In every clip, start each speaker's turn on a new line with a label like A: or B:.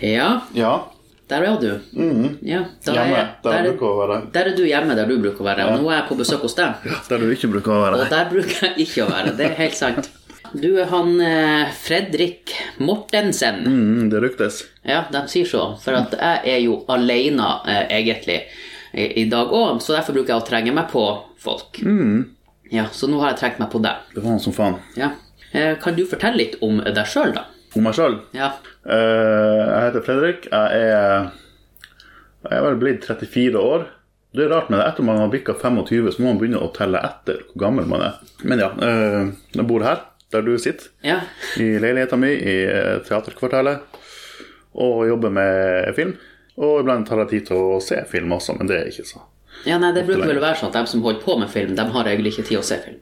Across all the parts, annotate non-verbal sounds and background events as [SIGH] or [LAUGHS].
A: Ja,
B: Ja.
A: der er du. Ja, da er,
B: Mm. Hjemme.
A: der,
B: Der
A: er,
B: bruker å være.
A: der er du hjemme der du bruker å være. Og nå er jeg på besøk hos deg,
B: Der du ikke bruker å
A: og
B: være.
A: der bruker jeg ikke å være. Det er helt sant. Du er han eh, Fredrik Mortensen.
B: Mm, det ryktes.
A: Ja, de sier så. For at jeg er jo alene eh, egentlig i, i dag òg, så derfor bruker jeg å trenge meg på folk.
B: Mm.
A: Ja, Så nå har jeg trukket meg på deg.
B: Det var han som faen.
A: Ja. Eh, Kan du fortelle litt om deg sjøl, da?
B: Om meg sjøl.
A: Ja.
B: Eh, jeg heter Fredrik. Jeg er Jeg er vel blitt 34 år. Det er rart, men etter man har bikka 25, så må man begynne å telle etter hvor gammel man er. Men ja, eh, jeg bor her, der du sitter.
A: ja.
B: i leiligheten min i eh, teaterkvartalet og jobber med film. Og iblant har jeg tid til å se film også, men det er ikke så.
A: Ja, nei, Det bruker vel å være sånn at de som holder på med film, de har egentlig ikke tid å se film.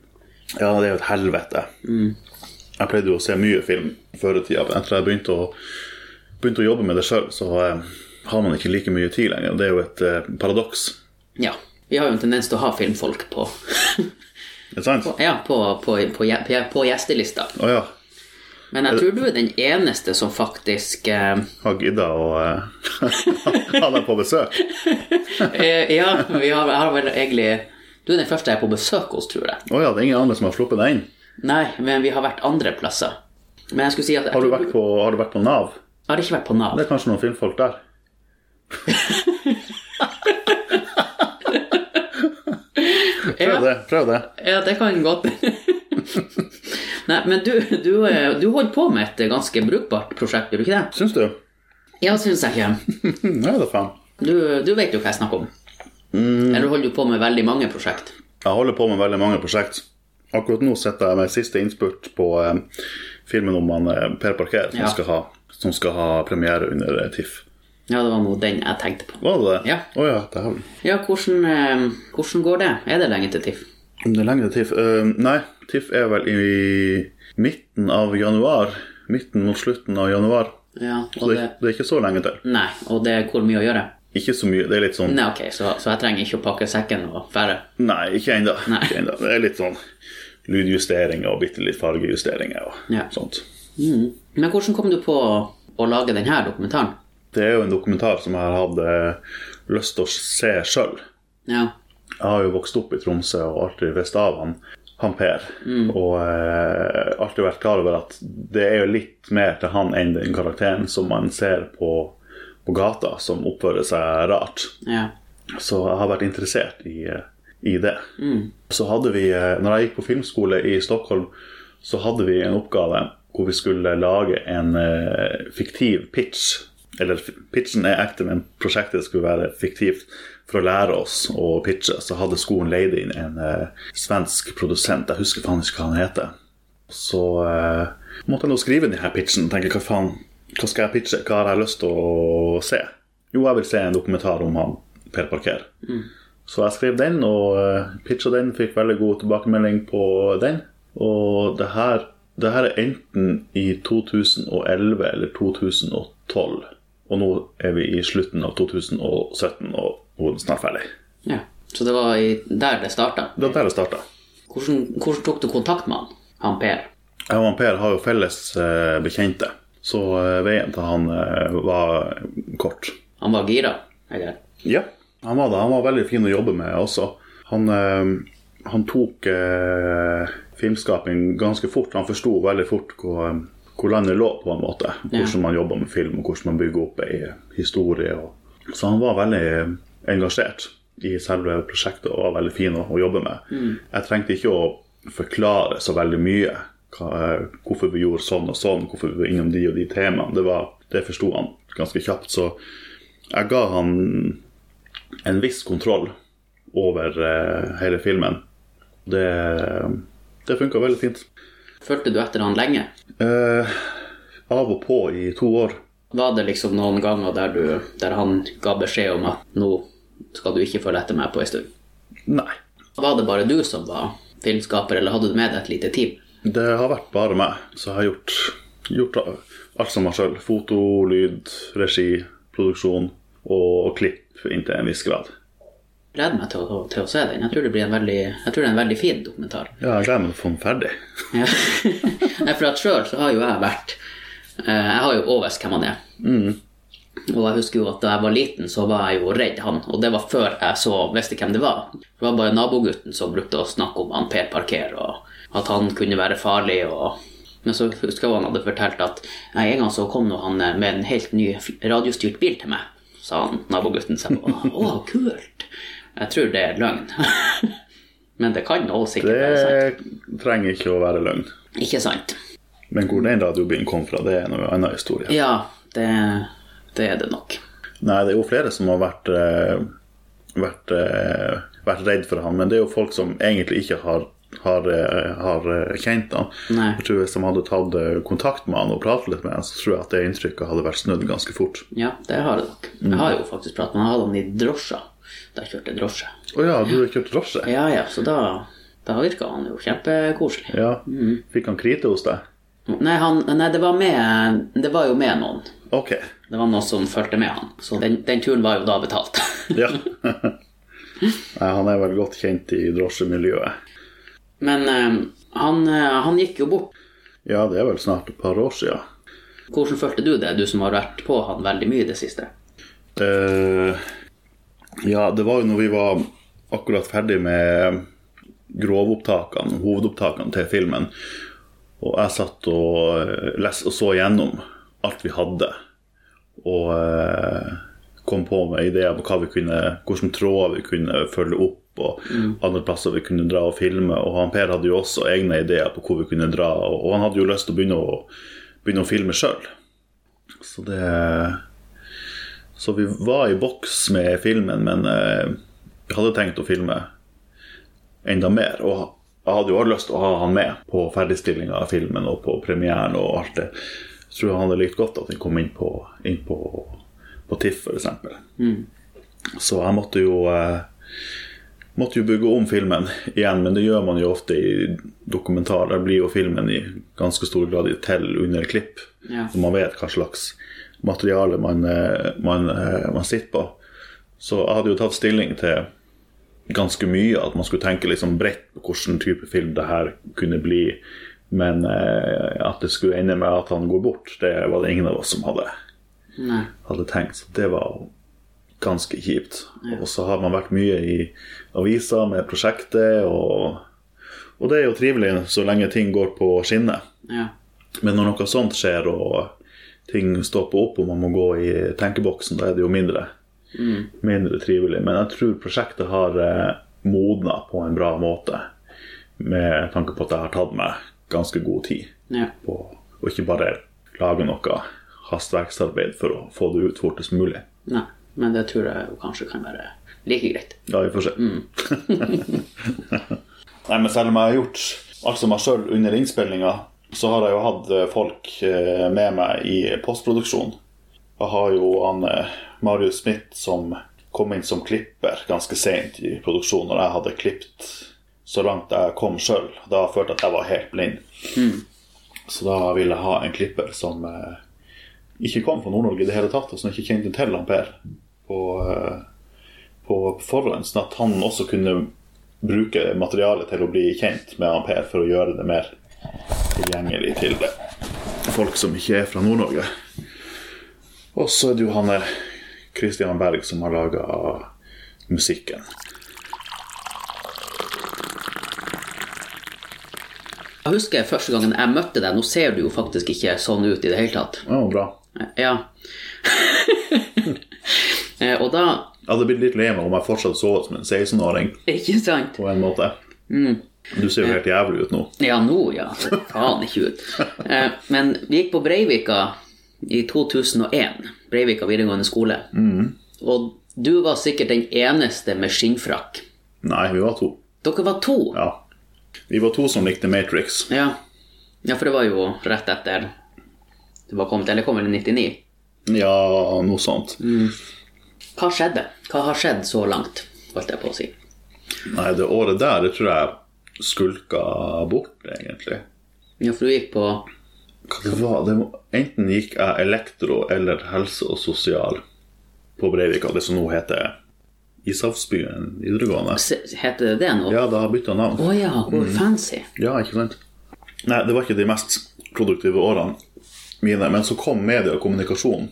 B: Ja, det er jo et helvete. Jeg pleide jo å se mye film før i tida, men etter at jeg begynte å, begynte å jobbe med det sjøl, så eh, har man ikke like mye tid lenger. Det er jo et eh, paradoks.
A: Ja. Vi har jo en tendens til å ha filmfolk på, [LAUGHS]
B: Ikke sant? Å
A: ja, på, på, på, på, på gjestelista.
B: ja.
A: Men jeg tror du er den eneste som faktisk eh,
B: Har gidda å eh, [LAUGHS] ha deg på besøk.
A: eh, Ja, vi har, har vel egentlig Du er den første jeg er på besøk hos, tror jeg.
B: Å ja, det er ingen andre som har sluppet deg inn.
A: Nei, men vi har vært andre plasser. Men jeg skulle si at jeg
B: Har du
A: tror
B: vært på, har du vært på Nav?
A: Jeg har ikke vært på Nav.
B: Det er kanskje noen filmfolk der. Prøv
A: Ja.
B: det. prøv det
A: Ja, det kan godt [LAUGHS] Nei, men du, du, eh, du holder på med et ganske brukbart prosjekt, gjør du ikke det?
B: Syns du?
A: Ja, syns jeg ikke.
B: Hm, Nei da, faen.
A: Du, du vet jo hva jeg snakker om.
B: Mm.
A: Eller holder du på med veldig mange prosjekt?
B: Jeg holder på med veldig mange prosjekt. Akkurat nå sitter jeg med siste innspurt på eh, filmen om han, eh, Per Parker, som,
A: Ja.
B: skal ha, som skal ha premiere under eh, TIFF.
A: Ja, det var nå den jeg tenkte på.
B: Var det det?
A: Ja.
B: Å ja, dæven.
A: Ja, hvordan, eh, hvordan går det? Er det lenge til TIFF?
B: Om det er lenge til TIFF Eh, Nei, TIFF er vel i midten av januar. Midten mot slutten av januar.
A: Ja,
B: Så
A: og
B: det,
A: det,
B: det er ikke så lenge til.
A: nei, og det er hvor mye å gjøre?
B: Ikke så mye. Det er litt sånn
A: Nei, ok, så, så jeg trenger ikke å pakke sekken og fære.
B: Nei, ikke ennå.
A: Nei.
B: Ikke enda. Det er litt sånn lydjusteringer og bitte litt fargejusteringer og
A: Ja.
B: sånt.
A: Mm. Men hvordan kom du på å lage denne dokumentaren?
B: Det er jo en dokumentar som jeg hadde lyst til å se sjøl.
A: Ja,
B: Jeg har jo vokst opp i Tromsø og alltid visst av han, han Per. Og eh, alltid vært klar over at det er jo litt mer til han enn den karakteren som man ser på, på gata, som oppfører seg rart.
A: ja,
B: Så jeg har vært interessert i, i det. Så hadde vi, eh, når jeg gikk på filmskole i Stockholm, så hadde vi en oppgave hvor vi skulle lage en eh, fiktiv pitch. Eller f- pitchen er ekte, men prosjektet skulle være fiktivt. For å lære oss å pitche, så hadde skolen leid inn en eh, svensk produsent. Jeg husker faen ikke hva han heter. Så eh, måtte jeg nå skrive denne pitchen. Tenke hva faen, hva skal jeg pitche? Hva har jeg lyst til å se? Jo, jeg vil se en dokumentar om han Per Parker. Så jeg skrev den, og eh, pitcha den. Fikk veldig god tilbakemelding på den. Og det her, det her er enten i 2011 eller 2012. Og nå er vi i slutten av 2017 og nå er den snart ferdig.
A: ja. Så det var i, der det starta.
B: Det var der det starta.
A: Hvordan, hvordan tok du kontakt med han, han Per?
B: Jeg og han Per har jo felles eh, bekjente, så eh, veien til han eh, var kort.
A: Han var gira, eller?
B: Ja, han var det. Han var veldig fin å jobbe med også. Han, eh, han tok eh, filmskaping ganske fort. Han forsto veldig fort hvor, eh, hvor landet lå, på en måte. Hvordan man jobber med film, og hvordan man bygger opp ei historie. Og... Så han var veldig eh, engasjert i selve prosjektet og var veldig fin å, å jobbe med. Jeg trengte ikke å forklare så veldig mye. Hva, eh, hvorfor vi gjorde sånn og sånn, hvorfor vi var innom de og de temaene. Det, var- det forsto han ganske kjapt. så jeg ga han en viss kontroll over eh, hele filmen. Det, det funka veldig fint.
A: Fulgte du etter han lenge?
B: Eh, av og på i to år.
A: Var det liksom noen ganger der, du, der han ga beskjed om at nå skal du ikke følge etter meg på en stund?
B: Nei.
A: Var det bare du som var filmskaper, eller hadde du med deg et lite team?
B: Det har vært bare meg, så jeg har gjort, gjort alt som meg sjøl. Foto, lyd, regi, produksjon og klipp inntil en viss grad.
A: Gleder meg til å, til å se den. Jeg tror det blir en veldig, jeg tror det er en veldig fin dokumentar.
B: Ja, jeg gleder meg til å få den ferdig.
A: Ja. [LAUGHS] Nei, for at sjøl så har jo jeg vært eh, Jeg har jo òg visst hvem han er. Og jeg husker jo at da jeg var liten, så var jeg jo redd han. Og det var før jeg så visste hvem det var. Det var bare nabogutten som brukte å snakke om han Per Parker, og at han kunne være farlig. og... Men så husker jeg han hadde fortalt at nei, en gang så kom nå han eh, med en helt ny f- radiostyrt bil til meg, sa han nabogutten seg på. Å, kult! Jeg tror det er løgn. [LAUGHS] Men det kan jo sikkert være sant.
B: Det trenger ikke å være løgn.
A: Ikke sant?
B: Men hvor den radiobilen kom fra, det er en annen historie.
A: Ja, det, det er det nok.
B: Nei, det er jo flere som har vært, eh, vært, eh, vært redd for han, men det er jo folk som egentlig ikke har, har, eh, har eh, kjent han.
A: Nei.
B: Jeg tror Hvis de hadde tatt eh, kontakt med han og pratet litt med han, så tror jeg at det inntrykket hadde vært snudd ganske fort.
A: Ja, det har jeg nok. Jeg
B: Mm.
A: har jo faktisk pratet med han. Jeg hadde han i drosja. Da jeg kjørte drosje.
B: Å ja, du har kjørt drosje?
A: Ja, ja, så da, da virka han jo kjempekoselig.
B: Ja.
A: Mm.
B: Fikk han krite hos deg?
A: Nei, han, nei det, var med, det var jo med noen.
B: Ok.
A: Det var noen som fulgte med han. Så den, den turen var jo da betalt.
B: Ja. [LAUGHS] Nei, han er vel godt kjent i drosjemiljøet.
A: [LAUGHS] Men eh, han, eh, han gikk jo bort.
B: Ja, det er vel snart et par år sia.
A: Hvordan følte du det, du som har vært på han veldig mye i det siste?
B: Eh, ja, det var jo når vi var akkurat ferdig med grovopptakene, hovedopptakene til filmen, og jeg satt og, eh, les, og så gjennom alt vi hadde, og eh, kom på med ideer om hva vi kunne, hvilke tråder vi kunne følge opp, og andre plasser vi kunne dra og filme. Og han Per hadde jo også egne ideer på hvor vi kunne dra, og, og han hadde jo lyst til å begynne å, begynne å filme sjøl. Så det så vi var i boks med filmen, men eh, jeg hadde tenkt å filme enda mer. Og jeg hadde jo også lyst til å ha han med på ferdigstillinga av filmen og på premieren og alt det. Jeg tror han hadde likt godt at den kom inn på, inn på, på TIFF, f.eks. Så jeg måtte jo eh, Måtte jo bygge om filmen igjen, men det gjør man jo ofte i dokumentar. Der blir jo filmen i ganske stor grad til under klipp.
A: Ja.
B: Så man vet hva slags materiale man, eh, man, eh, man sitter på. Så jeg hadde jo tatt stilling til ganske mye, at man skulle tenke liksom bredt på hvilken type film det her kunne bli. Men eh, at det skulle ende med at han går bort, det var det ingen av oss som hadde,
A: Nei.
B: hadde tenkt. Så det var ganske kjipt. Og så har man vært mye i aviser med prosjektet, og, og det er jo trivelig så lenge ting går på skinner.
A: Ja.
B: Men når noe sånt skjer, og ting stopper opp, og man må gå i tenkeboksen, da er det jo mindre, mindre trivelig. Men jeg tror prosjektet har eh, modna på en bra måte, med tanke på at jeg har tatt meg ganske god tid
A: ja.
B: på å ikke bare lage noe hastverksarbeid for å få det ut fortest mulig.
A: Nei. Men det tror jeg jo kanskje kan være like greit.
B: Ja, vi får se. [LAUGHS] Nei, men selv om jeg har gjort alt som meg sjøl under innspillinga, så har jeg jo hatt eh, folk eh, med meg i postproduksjon. Jeg har jo han eh, Marius Smith som kom inn som klipper ganske seint i produksjonen, og jeg hadde klippet så langt jeg kom sjøl. Da følte jeg at jeg var helt blind. Så da ville jeg ha en klipper som eh, ikke kom fra Nord-Norge i det hele tatt, og som ikke kjente til han Per på eh, på forhånd, sånn at han også kunne bruke materialet til å bli kjent med han Per for å gjøre det mer tilgjengelig til det. folk som ikke er fra Nord-Norge. Og så er det jo han der Christian Berg som har laga musikken.
A: Jeg husker første gangen jeg møtte deg. Nå ser du jo faktisk ikke sånn ut i det hele tatt.
B: Det var bra.
A: Ja. [LAUGHS] Eh, Og da
B: Jeg hadde blitt litt lei meg om jeg fortsatt så ut som en 16-åring
A: Ikke sant?
B: på en måte. Du ser jo helt jævlig ut nå.
A: Ja, nå, ja. Faen ikke ut. Eh, Men vi gikk på Breivika i 2001. Breivika videregående skole. Og du var sikkert den eneste med skinnfrakk.
B: Nei, vi var to.
A: Dere var to. Ja.
B: Ja. Vi var to som likte Matrix.
A: ja. for det var jo rett etter du var kommet. Eller kom vel i 99.
B: Ja, noe sånt.
A: Hva skjedde? Hva har skjedd så langt, holdt jeg på å si.
B: Nei, det året der, det tror jeg skulka bort, egentlig.
A: Ja, for du gikk på
B: Hva det var? Det var enten gikk jeg elektro eller helse og sosial på Breivika, det som nå heter Ishavsbyen videregående.
A: se- Heter det det nå? Å ja.
B: Ja, det har bytta navn.
A: hvor fancy.
B: Ja, ikke sant? Nei, det var ikke de mest produktive årene mine, men så kom media og kommunikasjon.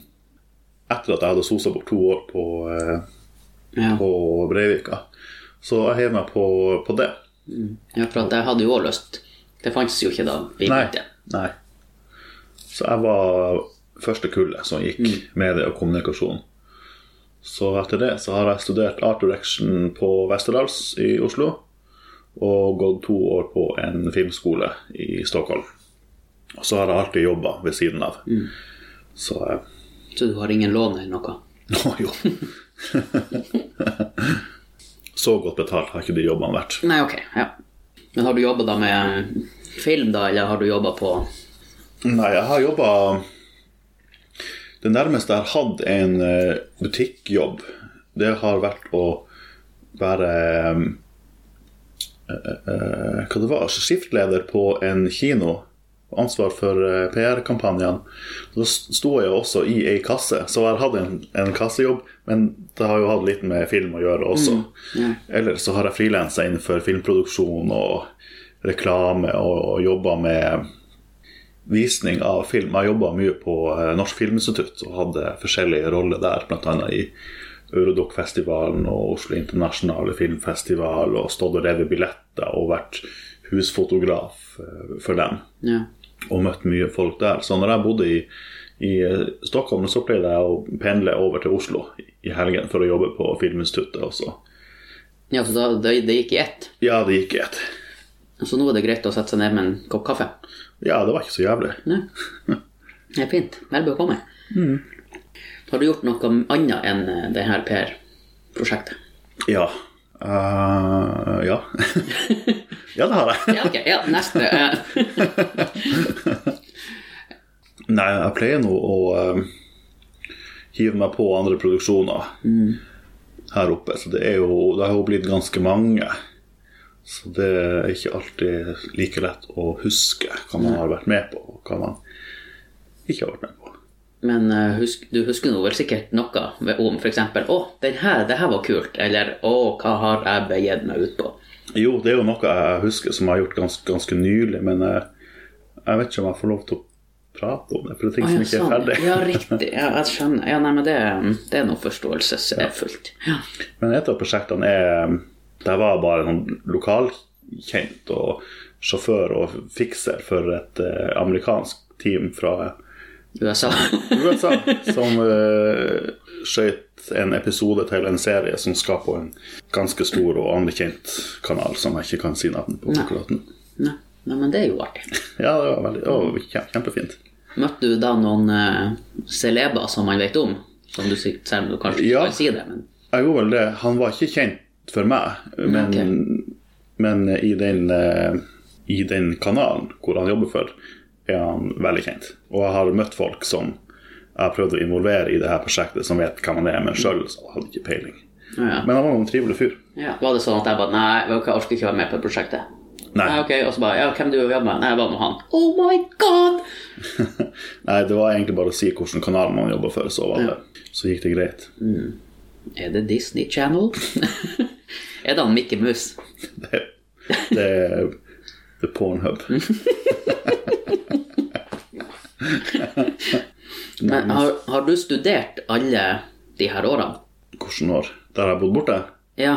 B: etter at jeg hadde sosa bort to år på, eh,
A: Ja.
B: på Breivika. Så jeg heiv meg på, på det.
A: ja, for at jeg hadde jo òg lyst. Det fantes jo ikke da vi
B: Nei.
A: begynte.
B: Nei. Så jeg var første kullet som gikk medie og kommunikasjon. Så etter det så har jeg studert Art Direction på Westerdals i Oslo. Og gått to år på en filmskole i Stockholm. Og så har jeg alltid jobba ved siden av. Så eh, [LAUGHS]
A: Så du har ingen lån eller noe?
B: Nå jo. så godt betalt har ikke de jobbene vært.
A: Nei, ok. ja. Men har du jobba da med film, da, eller har du jobba på
B: Nei, jeg har jobba Det nærmeste jeg har hatt en eh, butikkjobb, det har vært å være eh, eh, Hva det var Skiftleder på en kino. Ansvar for eh, PR-kampanjene. Da sto jeg jo også i ei kasse, så jeg har hatt en, en kassejobb, men det har jo hatt litt med film å gjøre også.
A: ja.
B: Eller så har jeg frilansa innenfor filmproduksjon og reklame og, og jobba med visning av film. Jeg jobba mye på eh, Norsk Filminstitutt og hadde forskjellige roller der, bl.a. i Eurodoc-festivalen og Oslo Internasjonale Filmfestival og stått og revet billetter og vært husfotograf eh, for dem
A: ja.
B: og møtt mye folk der. Så når jeg bodde i, i eh, Stockholm, så pleide jeg å pendle over til Oslo i helgen for å jobbe på Filminstituttet også.
A: ja, så da, det, det gikk i ett.
B: Ja, det gikk i ett.
A: Så nå er det greit å sette seg ned med en kopp kaffe.
B: Ja, det var ikke så jævlig.
A: Nei. Det er fint. Vel bekomme. Har du gjort noe annet enn eh, det her Per-prosjektet?
B: Ja. Eh, ja. [LAUGHS] ja, det har jeg.
A: Ja, ok. Ja, neste. eh.
B: Nei, jeg pleier nå å eh, hive meg på andre produksjoner
A: Mm.
B: her oppe. Så det er jo Det har jo blitt ganske mange. Så det er ikke alltid like lett å huske hva man har vært med på, og hva man ikke har vært med på.
A: Men eh, husk, du husker nå vel sikkert noe ved- om f.eks.: Å, den her, det her var kult. Eller Å, hva har jeg begitt meg ut på?
B: Jo, det er jo noe jeg husker som jeg har gjort ganske, ganske nylig, men jeg, jeg vet ikke om jeg får lov til å prate om det, for det er
A: Å,
B: ting som
A: ja,
B: ikke er
A: sånn.
B: ferdig.
A: Ja, riktig. [LAUGHS] Ja, jeg skjønner. Ja, nei, men det, det er noe forståelsesfullt. Ja.
B: Men et av prosjektene er um, Der var jeg bare noen lokalkjent og sjåfør og fikser for et eh, amerikansk team fra
A: USA.
B: USA som uh, skøyt en episode til en serie som skal på en ganske stor og anerkjent kanal som jeg ikke kan si navnet på akkurat nå.
A: [LAUGHS] nei, nei, men det er jo artig.
B: Ja, det var veldig, å, kjem- kjempefint.
A: Møtte du da noen eh, celeber som man vet om? Som du sier, selv om du kanskje ikke
B: Ja.
A: kan si det, men
B: Jeg gjorde vel det. Han var ikke kjent for meg, men, men i, den, eh, i den kanalen hvor han jobber for, er han veldig kjent. Og jeg har møtt folk som jeg har prøvd å involvere i det her prosjektet, som vet hva man er, men sjøl hadde ikke peiling.
A: ja, ja.
B: Men han var jo en trivelig fyr.
A: Ja. Var det sånn at jeg bare Nei, jeg orker ikke være med på det prosjektet.
B: Nei,
A: Nei, ok, Og så bare Ja, hvem du jobber med? Nei, jeg var med han. Oh my god!
B: nei, det var egentlig bare å si hvilken kanal man jobber for, så, var det, så gikk det greit.
A: Er det Disney Channel? [LAUGHS] er det han Mikke Mus?
B: Det, det er the pornhub.
A: Men har, har du studert alle de her årene?
B: Hvilket år? Der har jeg bodd borte?
A: Ja.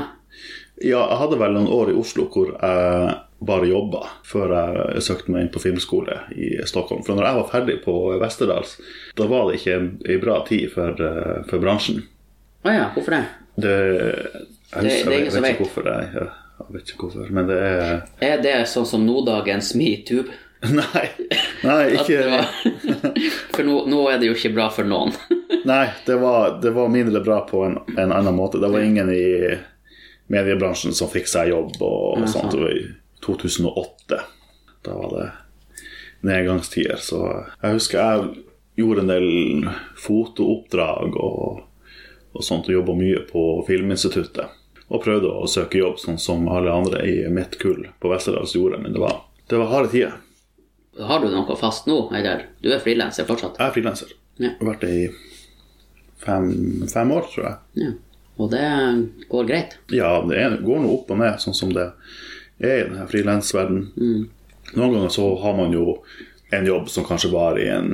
B: Ja, jeg hadde vel noen år i Oslo hvor jeg bare jobba før jeg søkte meg inn på filmskole i Stockholm. For når jeg var ferdig på Westerdals, da var det ikke ei bra tid for, eh, for bransjen.
A: Å ja, hvorfor det?
B: Det,
A: Det-
B: jeg,
A: det er
B: husker, jeg,
A: ingen
B: vet-
A: som
B: jeg vet
A: vet.
B: ikke hvorfor det jeg, jeg vet ikke hvorfor, men det er [LAUGHS]
A: Er det sånn som nådagens [LAUGHS] metoo?
B: Nei, nei
A: At det
B: ikke
A: var- [LAUGHS] For nå, nå er det jo ikke bra for noen.
B: Nei, det var, det var mindre bra på en, en annen måte. Det var ingen i mediebransjen som fikk seg jobb og, og sånt. Det var i 2008. Da var det nedgangstider. Så jeg husker jeg gjorde en del fotooppdrag og, og sånt, og jobba mye på Filminstituttet. Og prøvde å søke jobb, sånn som alle andre i mitt kull på Westerdals gjorde. Men det var, det var harde tider.
A: [LAUGHS] Har du noe fast nå, eller? Du er frilanser fortsatt?
B: Jeg er frilanser.
A: Ja.
B: Har vært det i fem, fem år, tror jeg.
A: Ja. Og det går greit?
B: Ja, det er- går nå opp og ned, sånn som det er i denne frilansverdenen. Noen ganger så har man jo en jobb som kanskje varer i en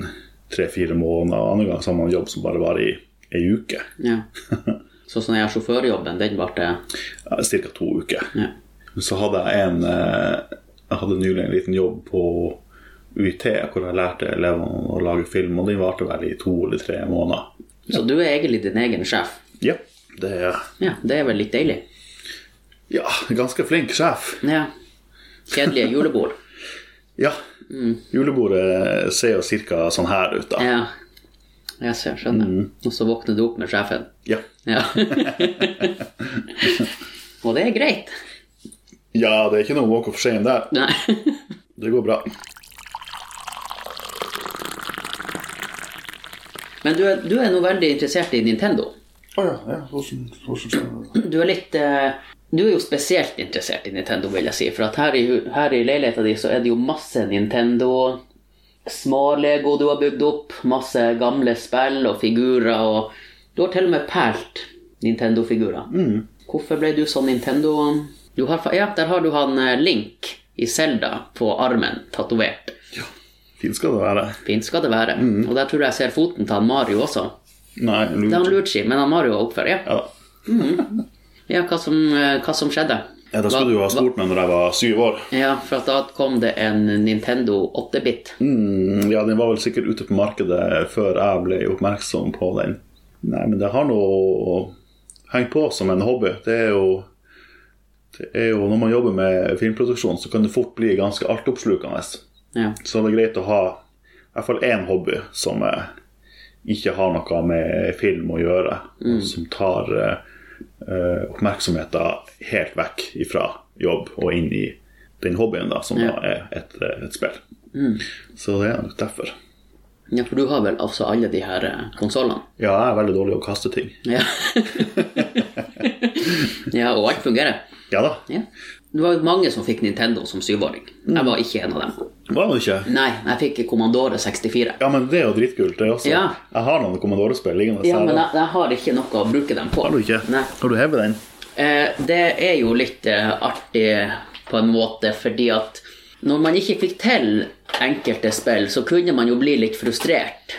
B: tre-fire måneder, og andre ganger så har man en jobb som bare varer i ei uke.
A: Ja. [LAUGHS] Sånn som den her sjåførjobben, den varte
B: Ca. to uker.
A: ja.
B: Så hadde jeg en eh, Jeg hadde nylig en liten jobb på UiT hvor jeg lærte elevene å lage film, og den varte vel i to eller tre måneder.
A: Så du er egentlig din egen sjef.
B: Ja, det er
A: Ja, det er vel litt deilig.
B: Ja, ganske flink sjef.
A: Ja. Kjedelige julebord.
B: Ja. Mm. Julebordet ser jo ca. sånn her ut, da.
A: Ja. Jeg ser, skjønner. Og så våkner du opp med sjefen.
B: Ja.
A: Ja. Og det er greit.
B: ja, det er ikke noe walk of shame der.
A: Nei.
B: Det går bra.
A: Men du er, du er nå veldig interessert i Nintendo.
B: Å ja, ja. Hvordan, hvordan skal det
A: Du er litt eh, Du er jo spesielt interessert i Nintendo, vil jeg si. For at her i, hu- her i leiligheta di så er det jo masse Nintendo. Små-lego du har bygd opp. Masse gamle spill og figurer. Og du har til og med pælt Nintendo-figurer. Hvorfor ble du sånn Nintendo du har, fa- Ja, der har du han eh, Link i Zelda på armen tatovert.
B: Fint skal det være.
A: Fint skal det være. Og der tror jeg jeg ser foten til han Mario også.
B: Nei,
A: Det er han
B: lurt.
A: Luigi, men han Mario er oppført. Ja.
B: Ja, da.
A: Ja, hva som, eh, hva som skjedde?
B: Ja, da skulle du jo ha spurt meg når jeg var syv år.
A: Ja, for at da kom det en Nintendo 8-bit.
B: Mm, ja, den var vel sikkert ute på markedet før jeg ble oppmerksom på den. Nei, men det har nå hengt på som en hobby. Det er jo det er jo, Når man jobber med filmproduksjon, så kan det fort bli ganske altoppslukende.
A: Ja.
B: Så det er greit å ha i hvert fall én hobby som eh, ikke har noe med film å gjøre,
A: Mm.
B: og som tar eh, eh, oppmerksomheten helt vekk ifra jobb og inn i den hobbyen da, som da er et, eh, et spill.
A: Mm.
B: Så det er nok derfor.
A: ja, for du har vel altså alle de her eh, konsollene?
B: Ja, jeg er veldig dårlig å kaste ting.
A: Ja. [LAUGHS] ja, og alt fungerer.
B: Ja da,
A: Ja. Det var jo mange som fikk Nintendo som syvåring. Jeg var ikke en av dem.
B: var det ikke?
A: Nei, jeg fikk Commandore 64.
B: Ja, men det er jo dritkult, det også.
A: Ja.
B: Jeg har noen Commodore-spill liggende.
A: Ja,
B: her.
A: men jeg, jeg har ikke noe å bruke dem på.
B: Har du ikke?
A: Nei.
B: Har du hevet den?
A: Eh, det er jo litt eh, artig på en måte, fordi at når man ikke fikk til enkelte spill, så kunne man jo bli litt frustrert.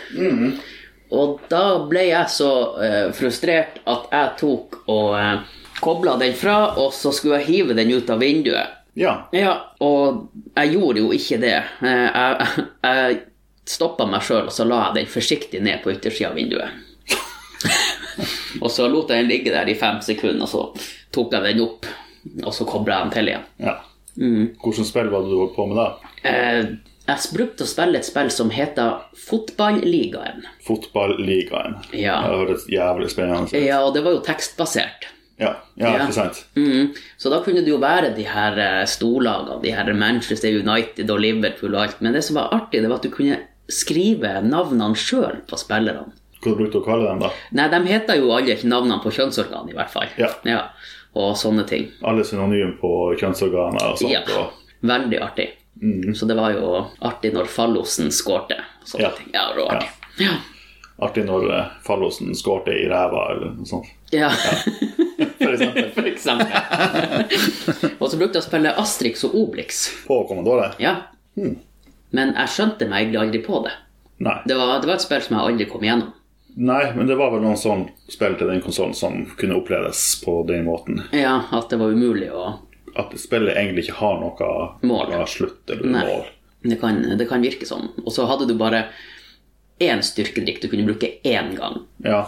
A: Og da ble jeg så eh, frustrert at jeg tok og eh, kobla den fra, og så skulle jeg hive den ut av vinduet.
B: Ja.
A: Ja, og jeg gjorde jo ikke det. Eh, Jeg, jeg stoppa meg sjøl, og så la jeg den forsiktig ned på yttersida av vinduet. [LAUGHS] og så lot jeg den ligge der i fem sekunder, og så tok jeg den opp, og så kobla jeg den til igjen.
B: ja.
A: Mm.
B: Hvilket spill var det du holdt på med da?
A: Eh, Jeg brukte å spille et spill som heter Fotballigaen.
B: Fotballigaen.
A: Ja.
B: Det høres jævlig spennende ut.
A: Ja, og det var jo tekstbasert.
B: Ja,
A: Ja.
B: ja, ikke sant?
A: Mm. Så da kunne det jo være de her eh, storlagene, de her Manchester United og Liverpool og alt. Men det som var artig, det var at du kunne skrive navnene sjøl på spillerne.
B: Hva brukte du å kalle dem, da?
A: Nei, de heter jo alle ikke navnene på kjønnsorgan, i hvert fall.
B: Ja.
A: Og sånne ting.
B: Alle synonym på kjønnsorganer og sånt.
A: Ja.
B: Og...
A: Veldig artig. Så det var jo artig når Fallosen skårte. Sånne
B: Ja.
A: ting. Mm. Ja, det var artig. Ja.
B: Artig når eh, fallosen skårte i ræva eller noe sånt.
A: Ja.
B: For
A: [LAUGHS]
B: eksempel
A: For eksempel. og så brukte jeg å spille Astrix og Obelix.
B: på Commodore.
A: Ja. Men jeg skjønte meg egentlig aldri på det.
B: Nei.
A: Det var, det var et spill som jeg aldri kom igjennom.
B: Nei, men det var vel noen sånn spill til den konsollen som kunne oppleves på den måten.
A: Ja, At det var umulig å
B: At spillet egentlig ikke har noe
A: Mål.
B: noe slutt eller
A: Nei.
B: mål.
A: Det kan, det kan virke sånn. Og så hadde du bare én styrkedrikk du kunne bruke én gang.
B: Ja.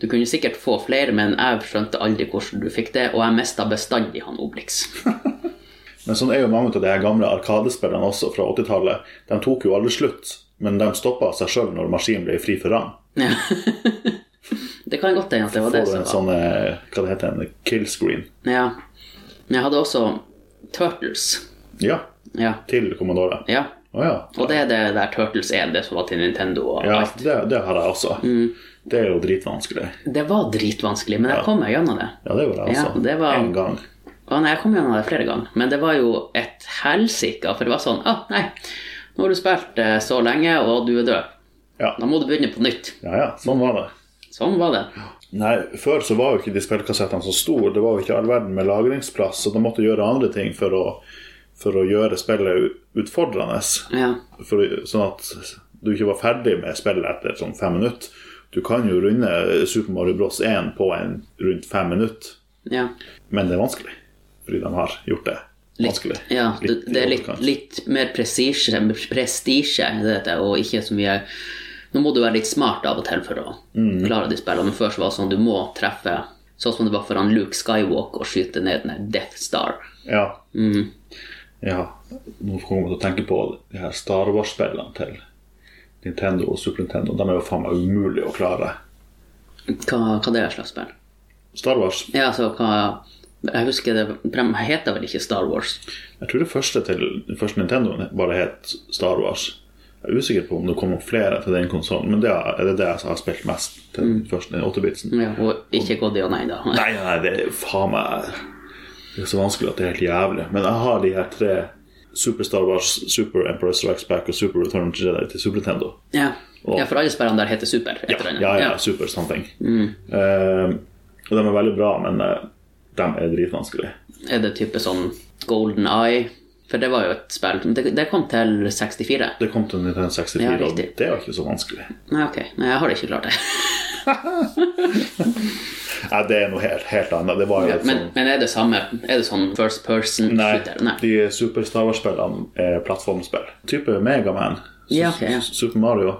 A: Du kunne sikkert få flere, men jeg skjønte aldri hvordan du fikk det, og jeg mista bestandig han Obelix.
B: Men sånn er jo mange av de her gamle arkadespillene også fra 80-tallet. De tok jo aldri slutt, men de stoppa seg sjøl når maskinen ble fri for rang.
A: Ja. [LAUGHS] det kan godt hende at det var
B: Får
A: det
B: du
A: som
B: en
A: var
B: sånn eh, Hva det heter en kill screen.
A: ja. Men jeg hadde også Turtles.
B: Ja.
A: Ja.
B: Til Commodore.
A: ja.
B: Å ja.
A: Og det er det der Turtles er, det som var til Nintendo. Og
B: ja
A: alt.
B: det, det har jeg også.
A: Mm.
B: Det er jo dritvanskelig.
A: Det var dritvanskelig, men jeg kom meg gjennom det.
B: Ja, det gjorde jeg
A: Ja,
B: også.
A: det var-
B: En gang.
A: Å nei, jeg kom gjennom det flere ganger, men det var jo et helsike. For det var sånn ah, nei, nå har du spilt eh, så lenge, og du er død.
B: Ja.
A: Da må du begynne på nytt.
B: ja ja, sånn var det.
A: Sånn var det.
B: Nei, Før så var jo ikke de spillkassettene så store. Det var jo ikke all verden med lagringsplass, så de måtte gjøre andre ting for å, for å gjøre spillet u- utfordrende.
A: Ja.
B: For, sånn at du ikke var ferdig med spillet etter sånn fem minutter. Du kan jo runde Super Mario Bros 1 på en, rundt fem minutter,
A: Ja.
B: men det er vanskelig. Fordi de har gjort det vanskelig.
A: Ja, det,
B: Litt i
A: det er litt,
B: overkant.
A: litt mer prestisje, prestisje i dette, og ikke så mye Nå må du være litt smart av og til for å
B: Mm.
A: klare de spillene, men før så var det sånn du må treffe Sånn som det var for han Luke Skywalker å skyte ned den der Death Star.
B: Ja.
A: Mm.
B: ja. Nå kommer jeg til å tenke på de her Star Wars-spillene til Nintendo og Super Nintendo. De er jo faen meg umulige å klare.
A: Hva, hva det er slags spill?
B: Star Wars
A: Ja, altså, hva Jeg husker det De heter vel ikke Star Wars?
B: Jeg tror det første til den første Nintendoen bare het Star Wars. Jeg er usikker på om det kom noen flere til den konsollen, men det er det, er det jeg har spilt mest til
A: Mm.
B: den første den 8-bitsen.
A: Ja, og ikke God og nei, da.
B: Nei, nei, det er faen meg Det er så vanskelig at det er helt jævlig. Men jeg har de her tre Super Star Wars, Super Emperor Strikes Back og Super Return of the Jedi til Super Nintendo.
A: Ja, ja for alle spillene der heter Super. et eller annet.
B: Ja, ja, Super something.
A: Mm.
B: Eh, og de er veldig bra, men eh, de er dritvanskelige.
A: Er det type sånn Golden Eye? For det var jo et spill men Det, det kom til 64.
B: Det kom til Nintendo 64,
A: Ja,
B: og
A: riktig.
B: det var ikke så vanskelig.
A: Nei, ok. Nei, jeg har ikke klart det.
B: Nei, det er noe helt, helt annet. Det var jo et
A: Men,
B: sånn
A: men er det samme? Er det sånn first person
B: Nei,
A: shooter? Nei.
B: de Super Star Wars-spillene er plattformspill. Type Megaman.
A: Ja, ok, ja. Mm.
B: Super Mario.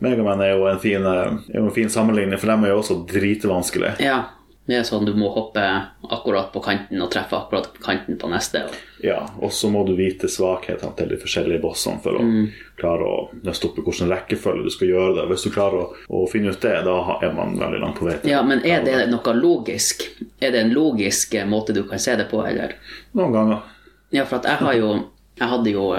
B: Megaman er jo en fin, eh, er jo en fin sammenligning, for dem er jo også dritvanskelige.
A: Ja. Det er sånn du må hoppe akkurat på kanten og treffe akkurat på kanten på neste. og-
B: Ja, og så må du vite svakhetene til de forskjellige bossene for å
A: Mm.
B: klare å nøste opp i hvilken rekkefølge du skal gjøre det. Hvis du klarer å, å finne ut det, da ha- er man veldig langt på vei. til
A: Ja, men er det noe logisk? Er det en logisk eh, måte du kan se det på, eller?
B: Noen ganger.
A: Ja, for at jeg har jo Jeg hadde jo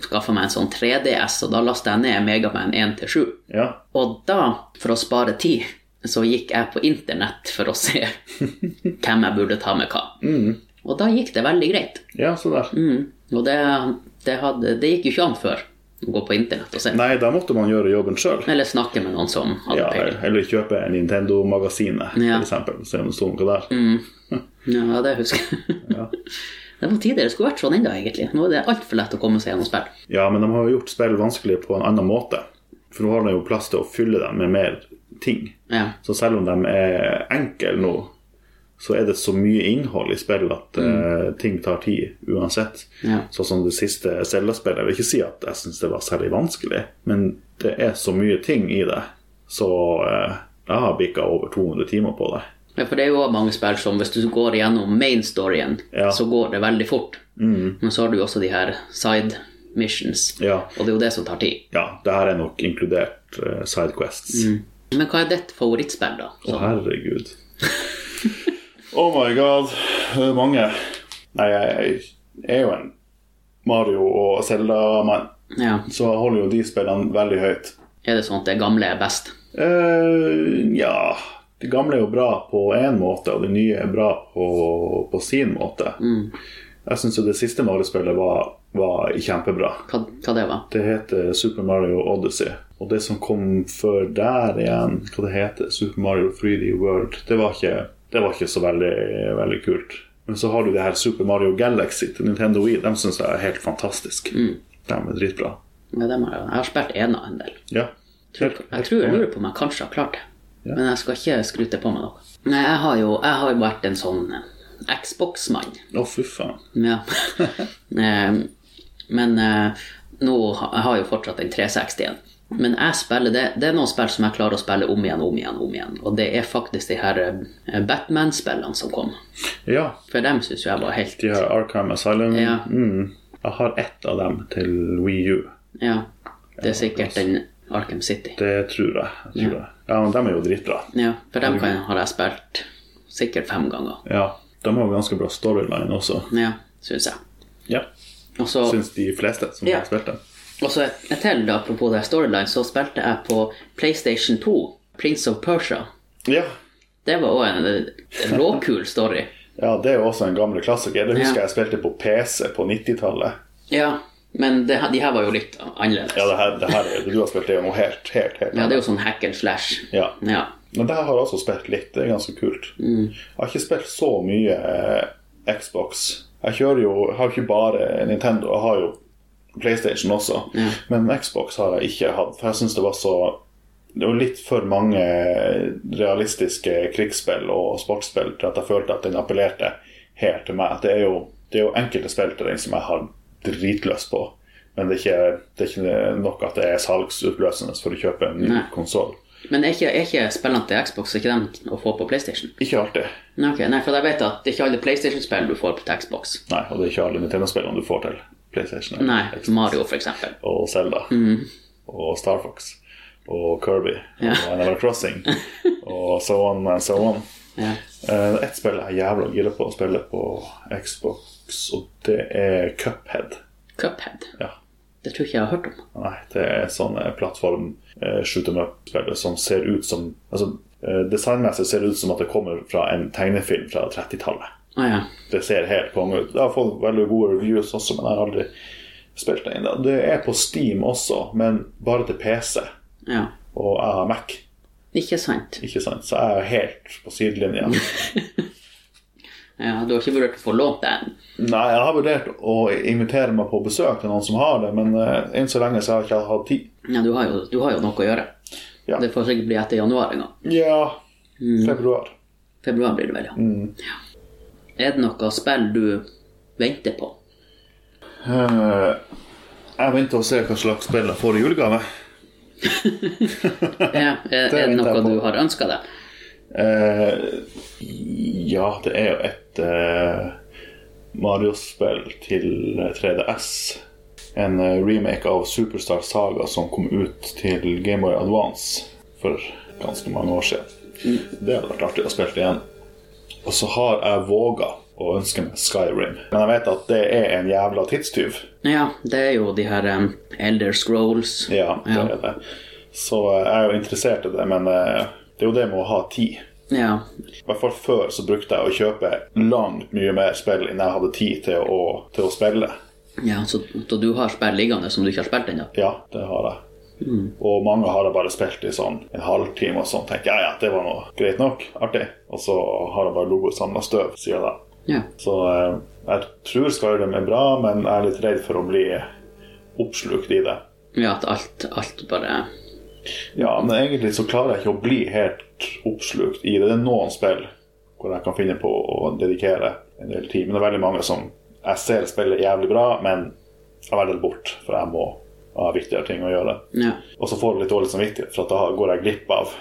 A: skaffa meg en sånn 3DS, og da lasta jeg ned Megaman 1 til 7.
B: Ja.
A: Og da, for å spare tid, så gikk jeg på internett for å
B: [LAUGHS]
A: se hvem jeg burde ta med hva.
B: Mm.
A: Og da gikk det veldig greit.
B: ja, så der.
A: Mm. Og det, det, hadde, det gikk jo ikke an før å gå på internett og se.
B: Nei, da måtte man gjøre jobben sjøl.
A: Eller snakke med noen som hadde
B: Ja,
A: peiling.
B: eller kjøpe Nintendo-magasinet,
A: Ja.
B: for eksempel. Se om det sto noe der.
A: Ja, det husker jeg. [LAUGHS] Det var tidligere. Det skulle vært sånn ennå, egentlig. Nå er det altfor lett å komme seg gjennom spill.
B: Ja, men de har jo gjort spill vanskelig på en annen måte. For nå har de jo plass til å fylle dem med mer ting.
A: Ja.
B: Så selv om de er enkle nå, så er det så mye innhold i spill at eh, ting tar tid uansett.
A: Ja.
B: Sånn som det siste Zelda-spillet. Jeg vil ikke si at jeg syns det var særlig vanskelig, men det er så mye ting i det, så eh, jeg har bikka over 200 timer på det.
A: Ja, for det er jo også mange spill som hvis du går gjennom main storyen,
B: Ja. Mm.
A: så går det veldig fort. Men så har du jo også de her side missions,
B: Ja,
A: og det er jo det som tar tid. Mm.
B: ja det her er nok inkludert eh, sidequests.
A: Men hva er ditt favorittspill, da?
B: Å, herregud. oh my god. Det er mange. Nei, jeg er jo en Mario- og Zelda-mann,
A: Ja.
B: så jeg holder jo de spillene veldig høyt.
A: Er det sånn at det gamle er best?
B: eh ja Det gamle er jo bra på én måte, og det nye er bra på, på sin måte. Jeg syns jo det siste Mario-spillet var, var kjempebra.
A: Hva, hva det var?
B: Det heter Super Mario Odyssey. Og det som kom før der igjen, hva det heter, Super Mario 3D World, det var ikke, det var ikke så veldig, veldig kult. Men så har du det her Super Mario Galaxy til Nintendo Wii. De syns jeg er helt fantastisk.
A: Mm.
B: De er dritbra.
A: Ja, dem har jeg, jeg har spilt ena en del.
B: Ja.
A: Jeg tror jeg lurer på om jeg kanskje har klart det. Men jeg skal ikke skryte på meg noe. Nei, jeg har jo, jeg har jo vært en sånn eh, Xbox-mann.
B: Å, fy faen.
A: [LAUGHS] Ja. Eh, Men eh, nå ha- jeg har jeg jo fortsatt den 360-en. Men jeg spiller det, det er noen spill som jeg klarer å spille om igjen, om igjen, om igjen. Og det er faktisk de her eh, Batman-spillene som kom.
B: Ja.
A: For dem syns jeg var helt
B: De her Arkham Asylum.
A: Ja.
B: Mm. Jeg har ett av dem til Wii U.
A: Ja. Det er sikkert den Arkham City.
B: Det tror jeg. jeg tror det. ja, men de er jo dritbra.
A: Ja, for dem kan, har jeg spilt sikkert fem ganger.
B: Ja. De har jo ganske bra storyline også.
A: Ja, syns jeg.
B: Ja.
A: Og så
B: Syns de fleste som
A: Ja.
B: har spilt dem.
A: og så et et til, da, apropos det her storyline, så spilte jeg på PlayStation 2, Prince of Persia.
B: Ja.
A: Det var òg en eh, råkul story.
B: ja, det er jo også en gammel klassiker. Det husker
A: Ja.
B: jeg spilte på PC på 90-tallet.
A: Ja, men det, her- de her var jo litt annerledes.
B: Ja,
A: Ja,
B: det her, det her er, du har spilt det jo helt, helt, helt
A: det er jo sånn hack and slash.
B: Ja.
A: Ja.
B: Men det her har jeg også spilt litt. Det er ganske kult. Jeg har ikke spilt så mye eh, Xbox. Jeg kjører jo jeg har jo ikke bare Nintendo. Jeg har jo PlayStation også. Men Xbox har jeg ikke hatt, for jeg syns det var så det var litt for mange realistiske krigsspill og sportsspill til at jeg følte at den appellerte helt til meg. Det er jo, det er jo enkelte spill til den som jeg har dritløst på. Men det er, ikke, det er ikke nok at det er salgsutløsende for å kjøpe en ny
A: Nei.
B: konsoll.
A: Men er ikke, er ikke spillene til Xbox er ikke dem å få på PlayStation?
B: Ikke alltid.
A: Nei, ok, nei, for jeg vet at det er ikke alle PlayStation-spill du får på Xbox.
B: Nei, og det er ikke alle Nintendo-spillene du får til PlayStation.
A: Nei, Mario, for eksempel.
B: Og Zelda. Og Star Fox. Og Kirby.
A: Ja.
B: Og
A: [LAUGHS]
B: Animal Crossing. og so on and so on.
A: Ja.
B: Eh, Ett spill jeg er jævla gira på å spille på Xbox, og det er Cuphead.
A: Cuphead.
B: Ja.
A: Det tror jeg ikke jeg har hørt om.
B: Nei, det er sånn eh, plattform eh, shoot em up-spill som ser ut som Altså, eh, designmessig ser det ut som at det kommer fra en tegnefilm fra 30-tallet.
A: Å ja.
B: Det ser helt konge ut. Det har fått veldig gode reviews også, men jeg har aldri spilt det ennå. Det er på Steam også, men bare til PC.
A: ja.
B: Og jeg har Mac,
A: Ikke sant.
B: ikke sant? så jeg er helt på sidelinja. [LAUGHS]
A: Ja, du har ikke vurdert å få lånt det ennå.
B: Nei, jeg har vurdert å invitere meg på besøk til noen som har det, men eh, enn så lenge så har jeg ikke hatt tid.
A: Ja, du har, jo, du har jo noe å gjøre.
B: Ja.
A: Det får sikkert bli etter januar en gang.
B: Ja, februar.
A: Februar blir det vel, ja.
B: Mm.
A: ja. Er det noe spill du venter på?
B: Eh, jeg venter og ser hva slags spill jeg får i julegave.
A: Ja, er, er det
B: venter jeg
A: noe
B: på.
A: du har ønska deg?
B: Eh, ja, det er jo et eh, Mario-spill til eh, 3DS. En eh, remake av Superstar Saga som kom ut til Gameboy Advance for ganske mange år siden. Det hadde vært artig å spille igjen. Og så har jeg våga å ønske meg Skyrim. Men jeg vet at det er en jævla tidstyv.
A: Ja, det er jo de her em, Elder Scrolls.
B: Ja, det
A: Ja.
B: er det. Så eh, jeg er jo interessert i det, men eh, det er jo det med å ha tid.
A: Ja,
B: I hvert fall før så brukte jeg å kjøpe langt mye mer spill enn jeg hadde tid til å, til å spille.
A: ja så, så du har spill liggende som du ikke har spilt ennå?
B: Ja, det har jeg. Og mange har jeg bare spilt i sånn en halvtime og sånn. Tenker ja, ja, det var noe greit nok. Artig. Og så har jeg bare ligget og samla støv siden da.
A: Ja.
B: Så eh, jeg tror Skyrim er bra, men jeg er litt redd for å bli oppslukt i det.
A: ja, at alt, alt bare
B: Ja, men egentlig så klarer jeg ikke å bli helt oppslukt i det. Det er noen spill hvor jeg kan finne på å dedikere en del tid. Men det er veldig mange som jeg ser spiller jævlig bra, men jeg velger det bort, for jeg må ha viktigere ting å gjøre.
A: Ja.
B: Og så får du litt dårlig samvittighet, for at da går jeg glipp av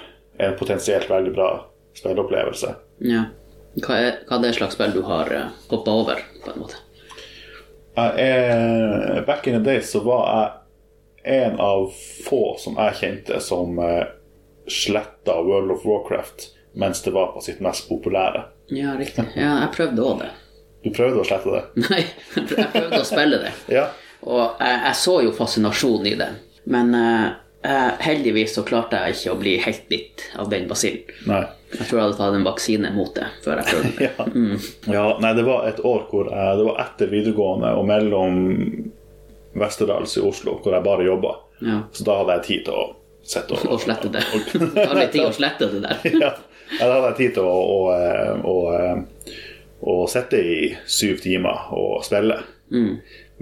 B: en potensielt veldig bra spilleopplevelse.
A: ja. Hva er, hva er det slags spill du har hoppa over, på en måte?
B: Jeg er, back in the days så var jeg en av få som jeg kjente som eh, sletta World of Warcraft mens det var på sitt mest populære.
A: Ja, riktig. Ja, jeg prøvde òg det. [LAUGHS]
B: Du prøvde å slette det?
A: Nei, jeg prøv- jeg prøvde å spille det.
B: Ja.
A: Og jeg, jeg så jo fascinasjonen i det. Men eh, eh, heldigvis så klarte jeg ikke å bli helt bitt av den basillen.
B: Nei.
A: Jeg tror jeg hadde tatt en vaksine mot det før jeg prøvde.
B: Ja. ja. Nei, det var et år hvor jeg, det var etter videregående og mellom Vesterdals i Oslo, hvor jeg bare jobba.
A: Ja.
B: Så da hadde jeg tid til å [LAUGHS] sitte og
A: Og slette det. [LAUGHS] Det tar litt tid å slette det der.
B: [LAUGHS] ja, ja, da hadde jeg tid til å, å, eh, å, eh, å sitte i syv timer og spille. Mm.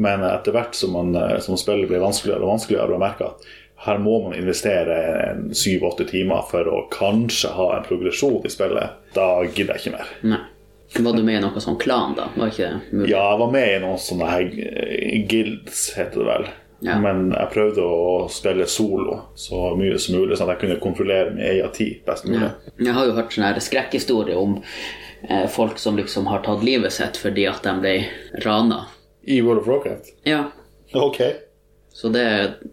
B: Men etter hvert som, man, eh, som spillet blir vanskeligere og vanskeligere, og merker at her må man investere en syv-åtte timer for å kanskje ha en progresjon i spillet, da gidder jeg ikke mer.
A: Nei. Var du med i noen sånn klan, da? Var ikke det mulig?
B: Ja, jeg var med i noen sånne her eh, guilds, heter det vel.
A: Ja.
B: Men jeg prøvde å spille solo så mye som mulig, sånn at jeg kunne kontrollere min egen tid best mulig.
A: Jeg har jo hørt sånne her skrekkhistorier om eh, folk som liksom har tatt livet sitt fordi at de ble rana.
B: I World of Warcraft.
A: Ja.
B: Ok.
A: Så det,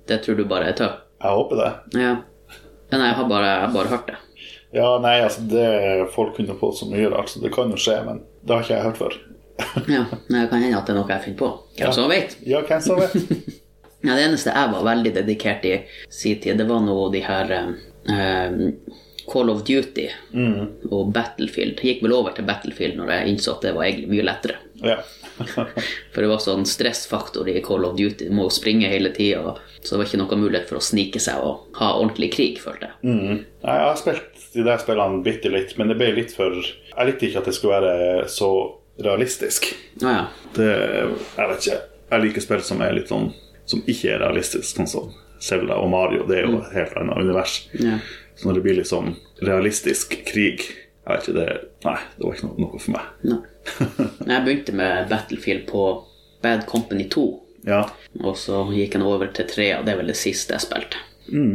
A: det tror du bare er tøv.
B: Jeg håper det.
A: Ja. Men jeg har bare, jeg har bare hørt det.
B: Ja, nei, altså det Folk kunne på så mye rart, så det kan jo skje, men det har ikke jeg hørt før.
A: Ja, men det kan hende at det er noe jeg finner på. Hvem som vet?
B: Ja, hvem som vet?
A: Ja, det eneste jeg var veldig dedikert i sin tid, det var nå de her eh, Call of Duty og Battlefield. Jeg gikk vel over til Battlefield når jeg innså at det var egentlig mye lettere.
B: Ja.
A: For det var sånn stressfaktor i Call of Duty. Du må jo springe hele tida, så det var ikke noen mulighet for å snike seg og ha ordentlig krig, følte jeg.
B: Mm. Nei, jeg har spilt de der spillene bitte litt, men det ble litt for Jeg likte ikke at det skulle være så realistisk.
A: Å ja.
B: Det Jeg vet ikke. Jeg liker spill som er litt sånn Som ikke er realistisk, sånn som Selda og Mario. Det er jo et helt annet univers.
A: Ja.
B: Så når det blir litt sånn realistisk krig Jeg vet ikke, det Nei, det var ikke noe, noe for meg.
A: Nei. Nei, Jeg begynte med Battlefield på Bad Company 2,
B: Ja.
A: og så gikk jeg nå over til 3, og det er vel det siste jeg spilte. Mm.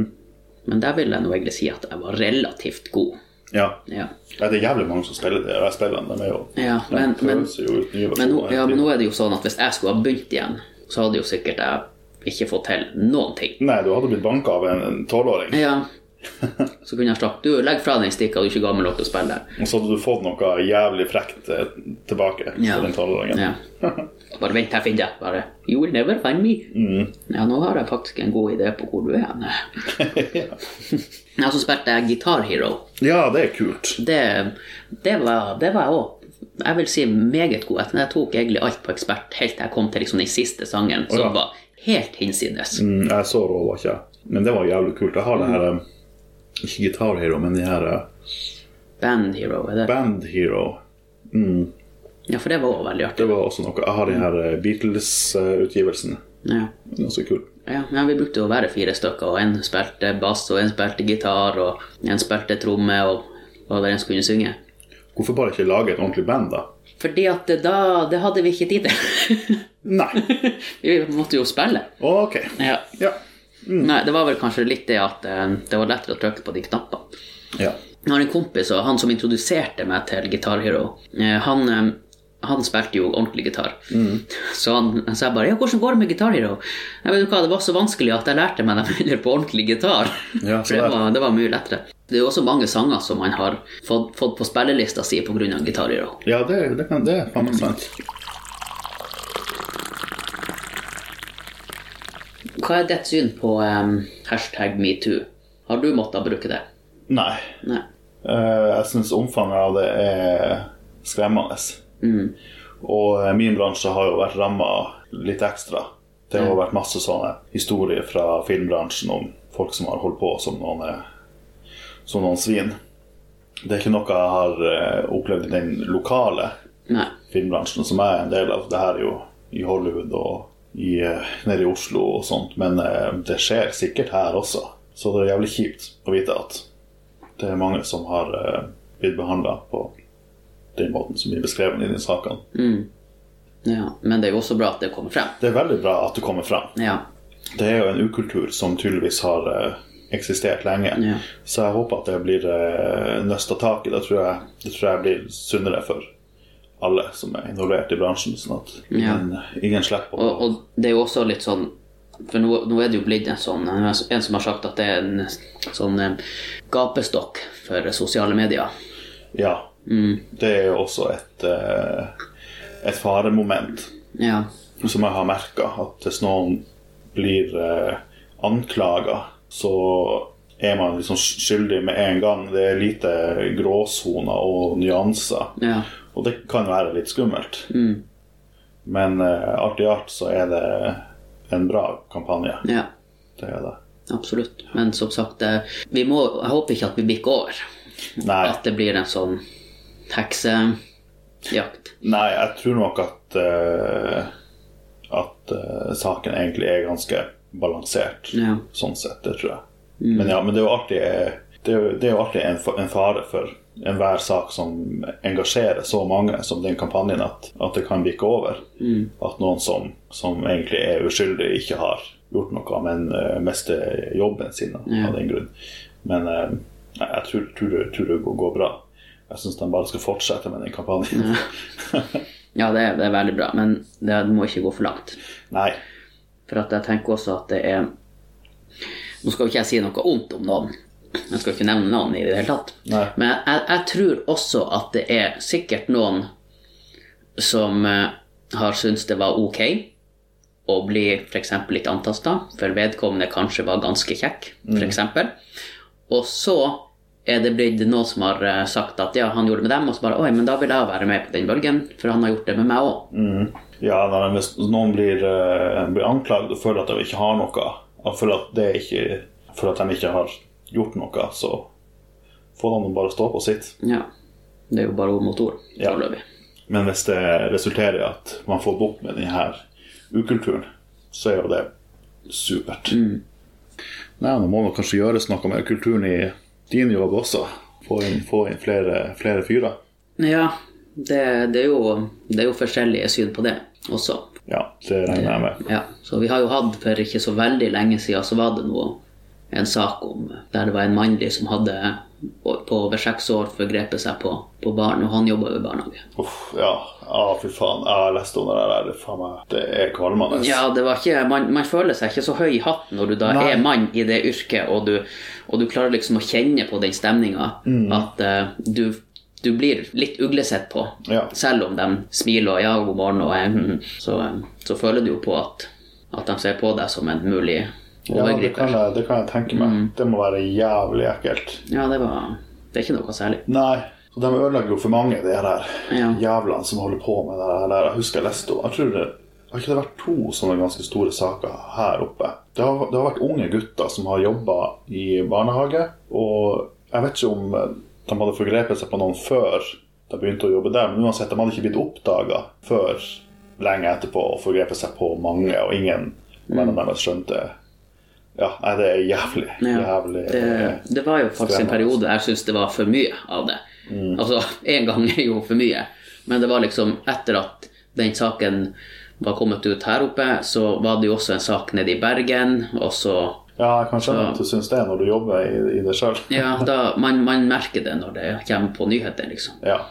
A: Men der vil jeg nå egentlig si at jeg var relativt god.
B: ja.
A: Ja.
B: Nei, Det er jævlig mange som spiller det, og jeg spiller den. De er jo
A: Ja, men-
B: de prøves jo ut nye
A: Men, nå,
B: versjoner.
A: ja, men nå er det jo sånn at hvis jeg skulle ha begynt igjen, så hadde jo sikkert jeg ikke fått til noen ting.
B: Nei, du hadde blitt banka av en tolvåring.
A: Ja. [LAUGHS] Så kunne jeg sagt du, legg fra den stikka, du er ikke gammel nok til å spille.
B: Og så hadde du fått noe jævlig frekt eh, tilbake
A: Ja.
B: for den tolvåringen.
A: Ja. Bare vent, her finner jeg bare You will never find me. Ja, nå har jeg faktisk en god idé på hvor du [LAUGHS] er. hen. Ja, så spilte jeg eh, Guitar Hero.
B: Ja, det er kult.
A: Det, det, var, det var jeg òg. Jeg vil si meget god. Jeg tok egentlig alt på ekspert helt til jeg kom til liksom den siste sangen, som
B: ja.
A: var helt hinsides.
B: Mm, jeg så rå var ikke jeg. Men det var jævlig kult. Jeg har det
A: Mm.
B: her eh, Ikke Guitar Hero, men de her eh,
A: Band Hero. Er det?
B: Band Hero.
A: Ja, for det var òg veldig artig.
B: Det var også noe Jeg har de her eh, Beatles-utgivelsen.
A: Ja.
B: Ganske kul.
A: Ja, ja, vi brukte jo å være fire stykker, og én spilte bass, og én spilte gitar, og én spilte tromme, og hva det en skulle synge.
B: Hvorfor bare ikke lage et ordentlig band, da?
A: Fordi at det, da Det hadde vi ikke tid til. [LAUGHS]
B: Nei.
A: vi måtte jo spille.
B: Ok.
A: Ja.
B: Ja. Mm.
A: Nei, det var vel kanskje litt det at eh, det var lettere å trykke på de knappene.
B: ja.
A: Jeg har en kompis, og han som introduserte meg til Guitar Hero, eh, han, eh, han spilte jo ordentlig gitar.
B: Mm.
A: Så han han sa bare 'Ja, hvordan går det med Guitar Hero?' Jeg vet ikke hva, Det var så vanskelig at jeg lærte meg dem [LAUGHS] heller på ordentlig gitar.
B: Ja,
A: For
B: så
A: det
B: der.
A: var, det var mye lettere. Det er jo også mange sanger som man har fått, fått på spillelista si pga. Guitar Hero.
B: Ja, det, det, kan, det er faen meg sant.
A: Hva er ditt syn på eh, hashtag metoo? Har du måttet bruke det?
B: Nei.
A: Nei.
B: Eh, jeg syns omfanget av det er skremmende. Og eh, min bransje har jo vært ramma litt ekstra. Det har vært masse sånne historier fra filmbransjen om folk som har holdt på som noen, eh, som noen svin. Det er ikke noe jeg har eh, opplevd i den lokale
A: Nei.
B: filmbransjen som jeg er en del av. Det her er jo i Hollywood og i, eh, nede i Oslo og sånt, men eh, det skjer sikkert her også. Så det er jævlig kjipt å vite at det er mange som har eh, blitt behandla på den måten som blir beskrevet i de sakene.
A: Ja. Men det er jo også bra at det kommer frem.
B: Det er veldig bra at det kommer fram.
A: Ja.
B: Det er jo en ukultur som tydeligvis har eh, eksistert lenge.
A: Ja.
B: Så jeg håper at det blir eh, nøsta tak i. Det tror, jeg, det tror jeg blir sunnere for alle som er involvert i bransjen. Sånn at
A: Ja.
B: ingen, ingen slipper å
A: Og, og det er jo også litt sånn For nå, nå er det jo blitt en sånn En som har sagt at det er en sånn eh, gapestokk for sosiale medier.
B: Ja. Det er jo også et, eh, et faremoment
A: Ja.
B: som jeg har merka. At hvis noen blir eh, anklaga, så er man liksom skyldig med en gang. Det er lite gråsoner og nyanser.
A: Ja.
B: Og det kan være litt skummelt. Men eh, alt i alt så er det en bra kampanje.
A: ja.
B: Det er det.
A: Absolutt. Men som sagt, eh, vi må, jeg håper ikke at vi bikker over.
B: Nei,
A: At det blir en sånn heksejakt.
B: nei jeg tror nok at eh, At eh, saken egentlig er ganske balansert.
A: Ja.
B: Sånn sett, det tror jeg. Men ja, men det er jo alltid, det er, jo- det er jo alltid en, fa- en fare for enhver sak som engasjerer så mange som den kampanjen, at, at det kan bikke over. At noen som, som egentlig er uskyldig, ikke har gjort noe, men eh, mister jobben sin av av den grunn. Men eh, nei, jeg tror, tror, det- tror det går, går bra. Jeg syns de bare skal fortsette med den kampanjen.
A: Ja, det er, det er veldig bra, men det må ikke gå for langt.
B: [LAUGHS] Nei.
A: For at jeg tenker også at det er Nå skal jo ikke jeg si noe ondt om noen. Jeg skal ikke nevne navn i det hele tatt.
B: Nei.
A: Men jeg, jeg tror også at det er sikkert noen som eh, har syntes det var ok å bli f.eks. litt antasta, for vedkommende kanskje var ganske kjekk, f.eks. Og så er det blitt noen som har eh, sagt at ja, han gjorde det med dem, og så bare oi, men da vil jeg være med på den bølgen, for han har gjort det med meg òg.
B: Ja, nei, men hvis noen blir, eh, blir anklagd og føler at de ikke har noe, og føler at, det ikke, føler at de ikke har gjort noe, så får de bare stå på sitt.
A: Ja. Det er jo bare ord mot ord,
B: Ja.
A: foreløpig.
B: Men hvis det resulterer i at man får bukt med denne ukulturen, så er jo det supert. Nei, nå må det kanskje gjøres noe med kulturen i din jobb også. Få inn, få inn flere, flere fyrer.
A: Ja, det, det, er jo, det er jo forskjellige syn på det også.
B: Ja, det regner jeg med.
A: Ja, så vi har jo hatt for ikke så veldig lenge siden så var det noe, en sak om der det var en mannlig som hadde på over seks år forgrepet seg på, på barn, og han jobba jo i barnehage.
B: Uff, ja. Ah, fy faen. Jeg har lest om det der. Det, er faen meg, det er kvalmende.
A: Ja, det var ikke, man, man føler seg ikke så høy i hatten når du da
B: Nei.
A: er mann i det yrket, og du, og du klarer liksom å kjenne på den stemninga
B: Mm.
A: at eh, du, du blir litt uglesett på.
B: Ja.
A: Selv om de smiler og ja, god morgen, og, eh, mm, så, eh, så føler du jo på at, at de ser på deg som en mulig
B: Ja, det kan,
A: overgriper.
B: jeg, det kan jeg tenke meg. Det må være jævlig ekkelt.
A: Ja, det var Det er ikke noe særlig.
B: Nei, så de ødelegger jo for mange, de her
A: Ja.
B: jævlene som holder på med det her. der. Jeg husker jeg leste om Jeg tror det har ikke det vært to sånne ganske store saker her oppe. Det har, det har vært unge gutter som har jobba i barnehage, og jeg vet ikke om eh, de hadde forgrepet seg på noen før de begynte å jobbe der, men uansett, de hadde ikke blitt oppdaga før lenge etterpå og forgrepet seg på mange, og ingen av
A: Mm.
B: vennene deres skjønte Ja, nei, det er jævlig.
A: Ja,
B: jævlig eh,
A: det, det var jo faktisk en
B: skremmende.
A: periode jeg syntes det var for mye av det. Altså, én gang er jo for mye, men det var liksom etter at den saken var kommet ut her oppe, så var det jo også en sak nede i Bergen, og så
B: Ja, jeg kan skjønne at du syns det når du jobber i, i det sjøl.
A: Ja, da, man, man merker det når det kommer på nyheter, liksom.
B: Ja.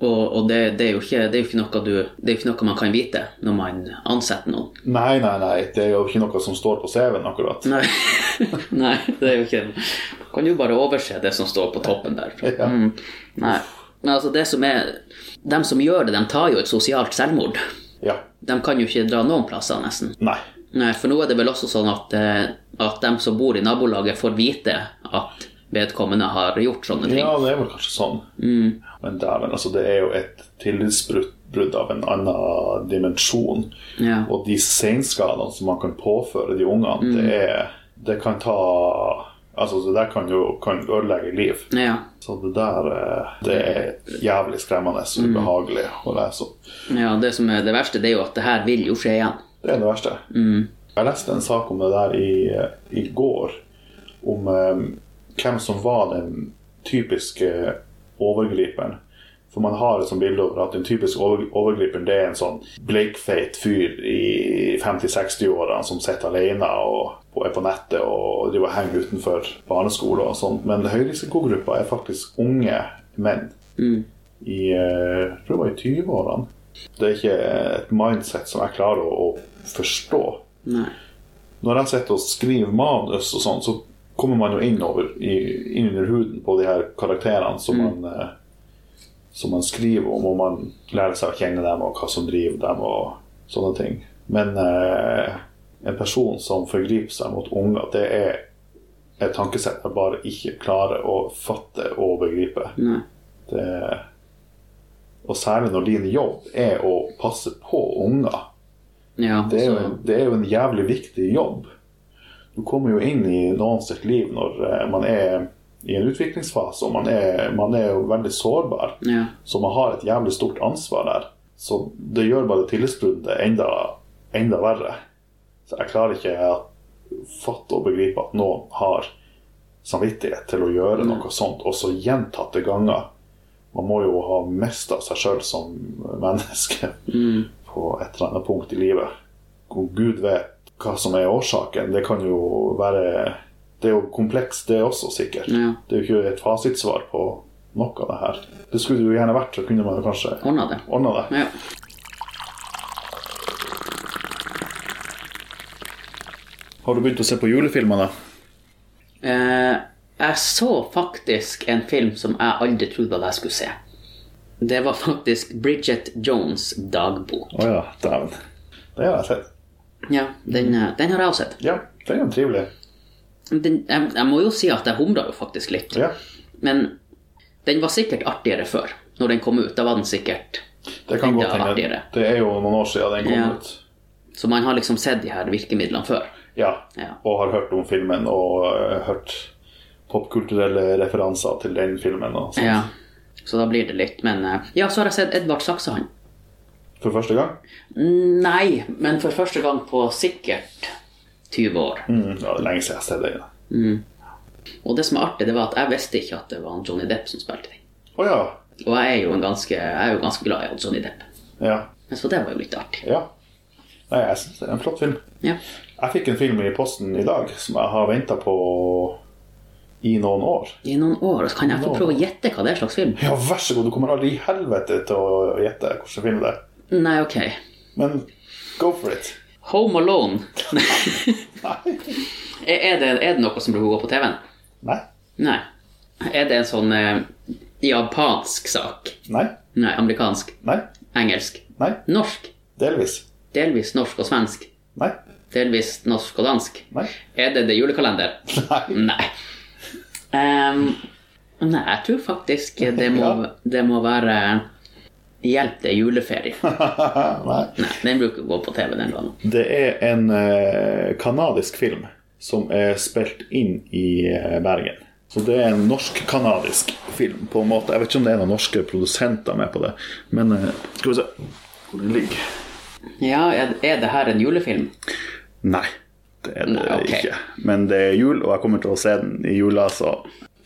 A: Og, og det, det, er jo ikke, det er jo ikke noe du Det er jo ikke noe man kan vite når man ansetter noen.
B: Nei, nei, nei, det er jo ikke noe som står på CV-en akkurat. [LAUGHS]
A: Nei. [LAUGHS] Nei, det er jo ikke Kan jo bare overse det som står på toppen der.
B: Ja.
A: Mm. Nei. Men altså, det som er De som gjør det, de tar jo et sosialt selvmord.
B: Ja.
A: De kan jo ikke dra noen plasser, nesten.
B: Nei.
A: Nei, for nå er det vel også sånn at, eh, at de som bor i nabolaget, får vite at vedkommende har gjort sånne ting.
B: Ja, det er vel kanskje sånn. Men dæven, altså, det er jo et tillitsbrudd av en annen dimensjon.
A: Ja.
B: Og de senskadene som man kan påføre de ungene, det er Det kan ta Altså, det der kan jo kan ødelegge liv.
A: Ja.
B: Så det der eh, Det er jævlig skremmende og ubehagelig å lese om.
A: ja. Det som er det verste, det er jo at det her vil jo skje igjen.
B: Det er det verste. Jeg leste en sak om det der i, i går. Om eh, hvem som var den typiske overgriperen. For man har et sånt bilde over at den typiske over, overgriperen det er en sånn bleikfeit fyr i 50-60-årene som sitter alene og, og er på nettet og driver og henger utenfor barneskole og sånt. Men høyrisikogruppa er faktisk unge menn. I, eh, jeg tror det var i 20-årene. Det er ikke et mindset som jeg klarer å, å forstå.
A: Nei.
B: Når jeg sitter og skriver manus og sånn, så kommer man jo innover i, inn under huden på de her karakterene som man eh, som man skriver om, og man lærer seg å kjenne dem og hva som driver dem og sånne ting. Men eh, en person som forgriper seg mot unger, det er et tankesett jeg bare ikke klarer å fatte og begripe.
A: Nei.
B: Det, eh, og særlig når din jobb er å passe på unger.
A: Ja,
B: Det er, jo
A: så-
B: en, det er jo en jævlig viktig jobb. Du kommer jo inn i noen sitt liv når eh, man er i en utviklingsfase, og man er, man er jo veldig sårbar.
A: ja.
B: Så man har et jævlig stort ansvar der. Så det gjør bare tillitsbruddet enda, enda verre. Så jeg klarer ikke å fatte og begripe at noen har samvittighet til å gjøre noe sånt, og så gjentatte ganger. Man må jo ha mista seg sjøl som menneske på et eller annet punkt i livet. Og Gud vet hva som er årsaken. Det kan jo være Det er jo komplekst, det også, sikkert.
A: Ja.
B: Det er jo ikke et fasitsvar på noe av det her. Det skulle det jo gjerne vært, så kunne man jo kanskje
A: Ordna det.
B: ordna det.
A: Ja.
B: Har du begynt å se på julefilmer, da?
A: Eh, jeg så faktisk en film som jeg aldri trodde at jeg skulle se. Det var faktisk Bridget Jones' dagbok.
B: Å ja, dæven. Det har jeg sett.
A: Ja, den, eh, den har jeg også sett.
B: Ja, det er jo trivelig.
A: Den, jeg, jeg må jo si at jeg humra jo faktisk litt.
B: Ja.
A: Men den var sikkert artigere før. Når den kom ut, da var den sikkert
B: Det kan
A: Enda
B: godt hende.
A: artigere.
B: Det er jo noen år siden den kom
A: Ja.
B: ut.
A: Så man har liksom sett de her virkemidlene før.
B: Ja.
A: Ja.
B: Og har hørt om filmen og eh, hørt popkulturelle referanser til den filmen. Og sånt.
A: Ja. Så da blir det litt, men eh, Ja, så har jeg sett Edvard Saksehand.
B: For første gang?
A: Nei, men for første gang på sikkert 20 år.
B: Mm, ja, det er lenge siden jeg har sett den.
A: Og det som er artig, det var at jeg visste ikke at det var han Johnny Depp som spilte den.
B: Å ja.
A: Og jeg er jo, en ganske, jeg er jo ganske glad i han Johnny Depp.
B: Ja.
A: Men Så det var jo litt artig.
B: ja. Nei, jeg syns det er en flott film.
A: Ja.
B: Jeg fikk en film i posten i dag som jeg har venta på i noen år.
A: I noen år så kan jeg få prøve å gjette hva det er slags film.
B: Ja, vær så god, du kommer aldri i helvete til å gjette hvilken film det er.
A: Nei, ok.
B: Men go for it.
A: Home Alone. [LAUGHS]
B: Nei.
A: er, er, det, er det noe som bruker å gå på TV-en?
B: Nei.
A: Nei. Er det en sånn eh, japansk sak?
B: Nei.
A: Nei, amerikansk.
B: Nei.
A: Engelsk.
B: Nei.
A: Norsk.
B: Delvis.
A: Delvis norsk og svensk.
B: Nei.
A: Delvis norsk og dansk.
B: Nei.
A: Er det det julekalender?
B: Nei.
A: Nei. Ehm, nei, jeg tror faktisk det må,
B: Ja.
A: det må være Hjelp, det er juleferie.
B: Nei.
A: Nei, den bruker å gå på TV den gangen.
B: Det er en eh, kanadisk film som er spilt inn i eh, Bergen. Så det er en norsk-kanadisk film, på en måte. Jeg vet ikke om det er noen norske produsenter med på det, men eh, skal vi se hvor den ligger.
A: Ja, er, er det her en julefilm?
B: Nei, det er det
A: Nei, ok.
B: ikke. Men det er jul, og jeg kommer til å se den i jula, så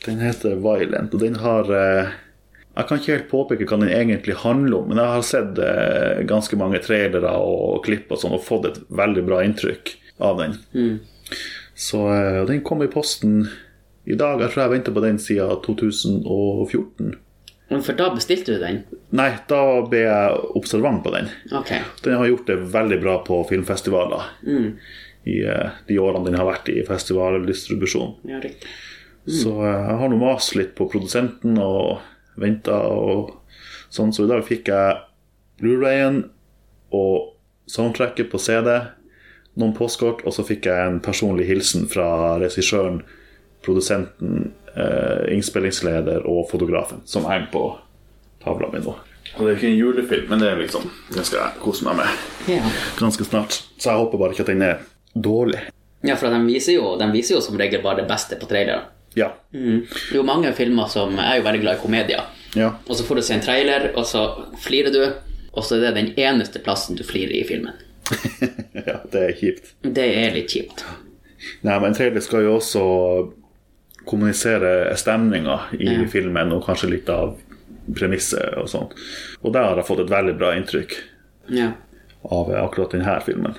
B: Den heter Violent, og den har eh, Jeg kan ikke helt påpeke hva den egentlig handler om, men jeg har sett eh, ganske mange trailere og klipp og sånn, og fått et veldig bra inntrykk av den.
A: Mm.
B: Så eh, og den kom i posten i dag. Jeg tror jeg venter på den siden 2014.
A: For da bestilte du den?
B: Nei, da ble jeg observant på den.
A: Ok.
B: Den har gjort det veldig bra på filmfestivaler i eh, de årene den har vært i festivaldistribusjon.
A: Ja, riktig.
B: Så eh, jeg har nå mast litt på produsenten og venta og sånn, så i dag fikk jeg Blu-rayen og soundtracket på CD, noen postkort, og så fikk jeg en personlig hilsen fra regissøren, produsenten, eh, innspillingsleder og fotografen, som henger på tavla mi nå. Og det er ikke en julefilm, men det er liksom, den skal jeg kose meg med
A: Ja.
B: ganske snart. Så jeg håper bare ikke at den er dårlig.
A: Ja, for de viser, jo, de viser jo som regel bare det beste på traileren.
B: Ja.
A: Det er jo mange filmer som Jeg er jo veldig glad i komedier.
B: ja. [LAUGHS]
A: Og så får du se en trailer, og så flirer du. Og så er det den eneste plassen du flirer i filmen.
B: ja, det er kjipt.
A: Det er litt kjipt.
B: Nei, men en trailer skal jo også kommunisere stemninga i filmen, og kanskje litt av premisset og sånn. Og der har jeg fått et veldig bra inntrykk
A: Ja.
B: av akkurat denne filmen.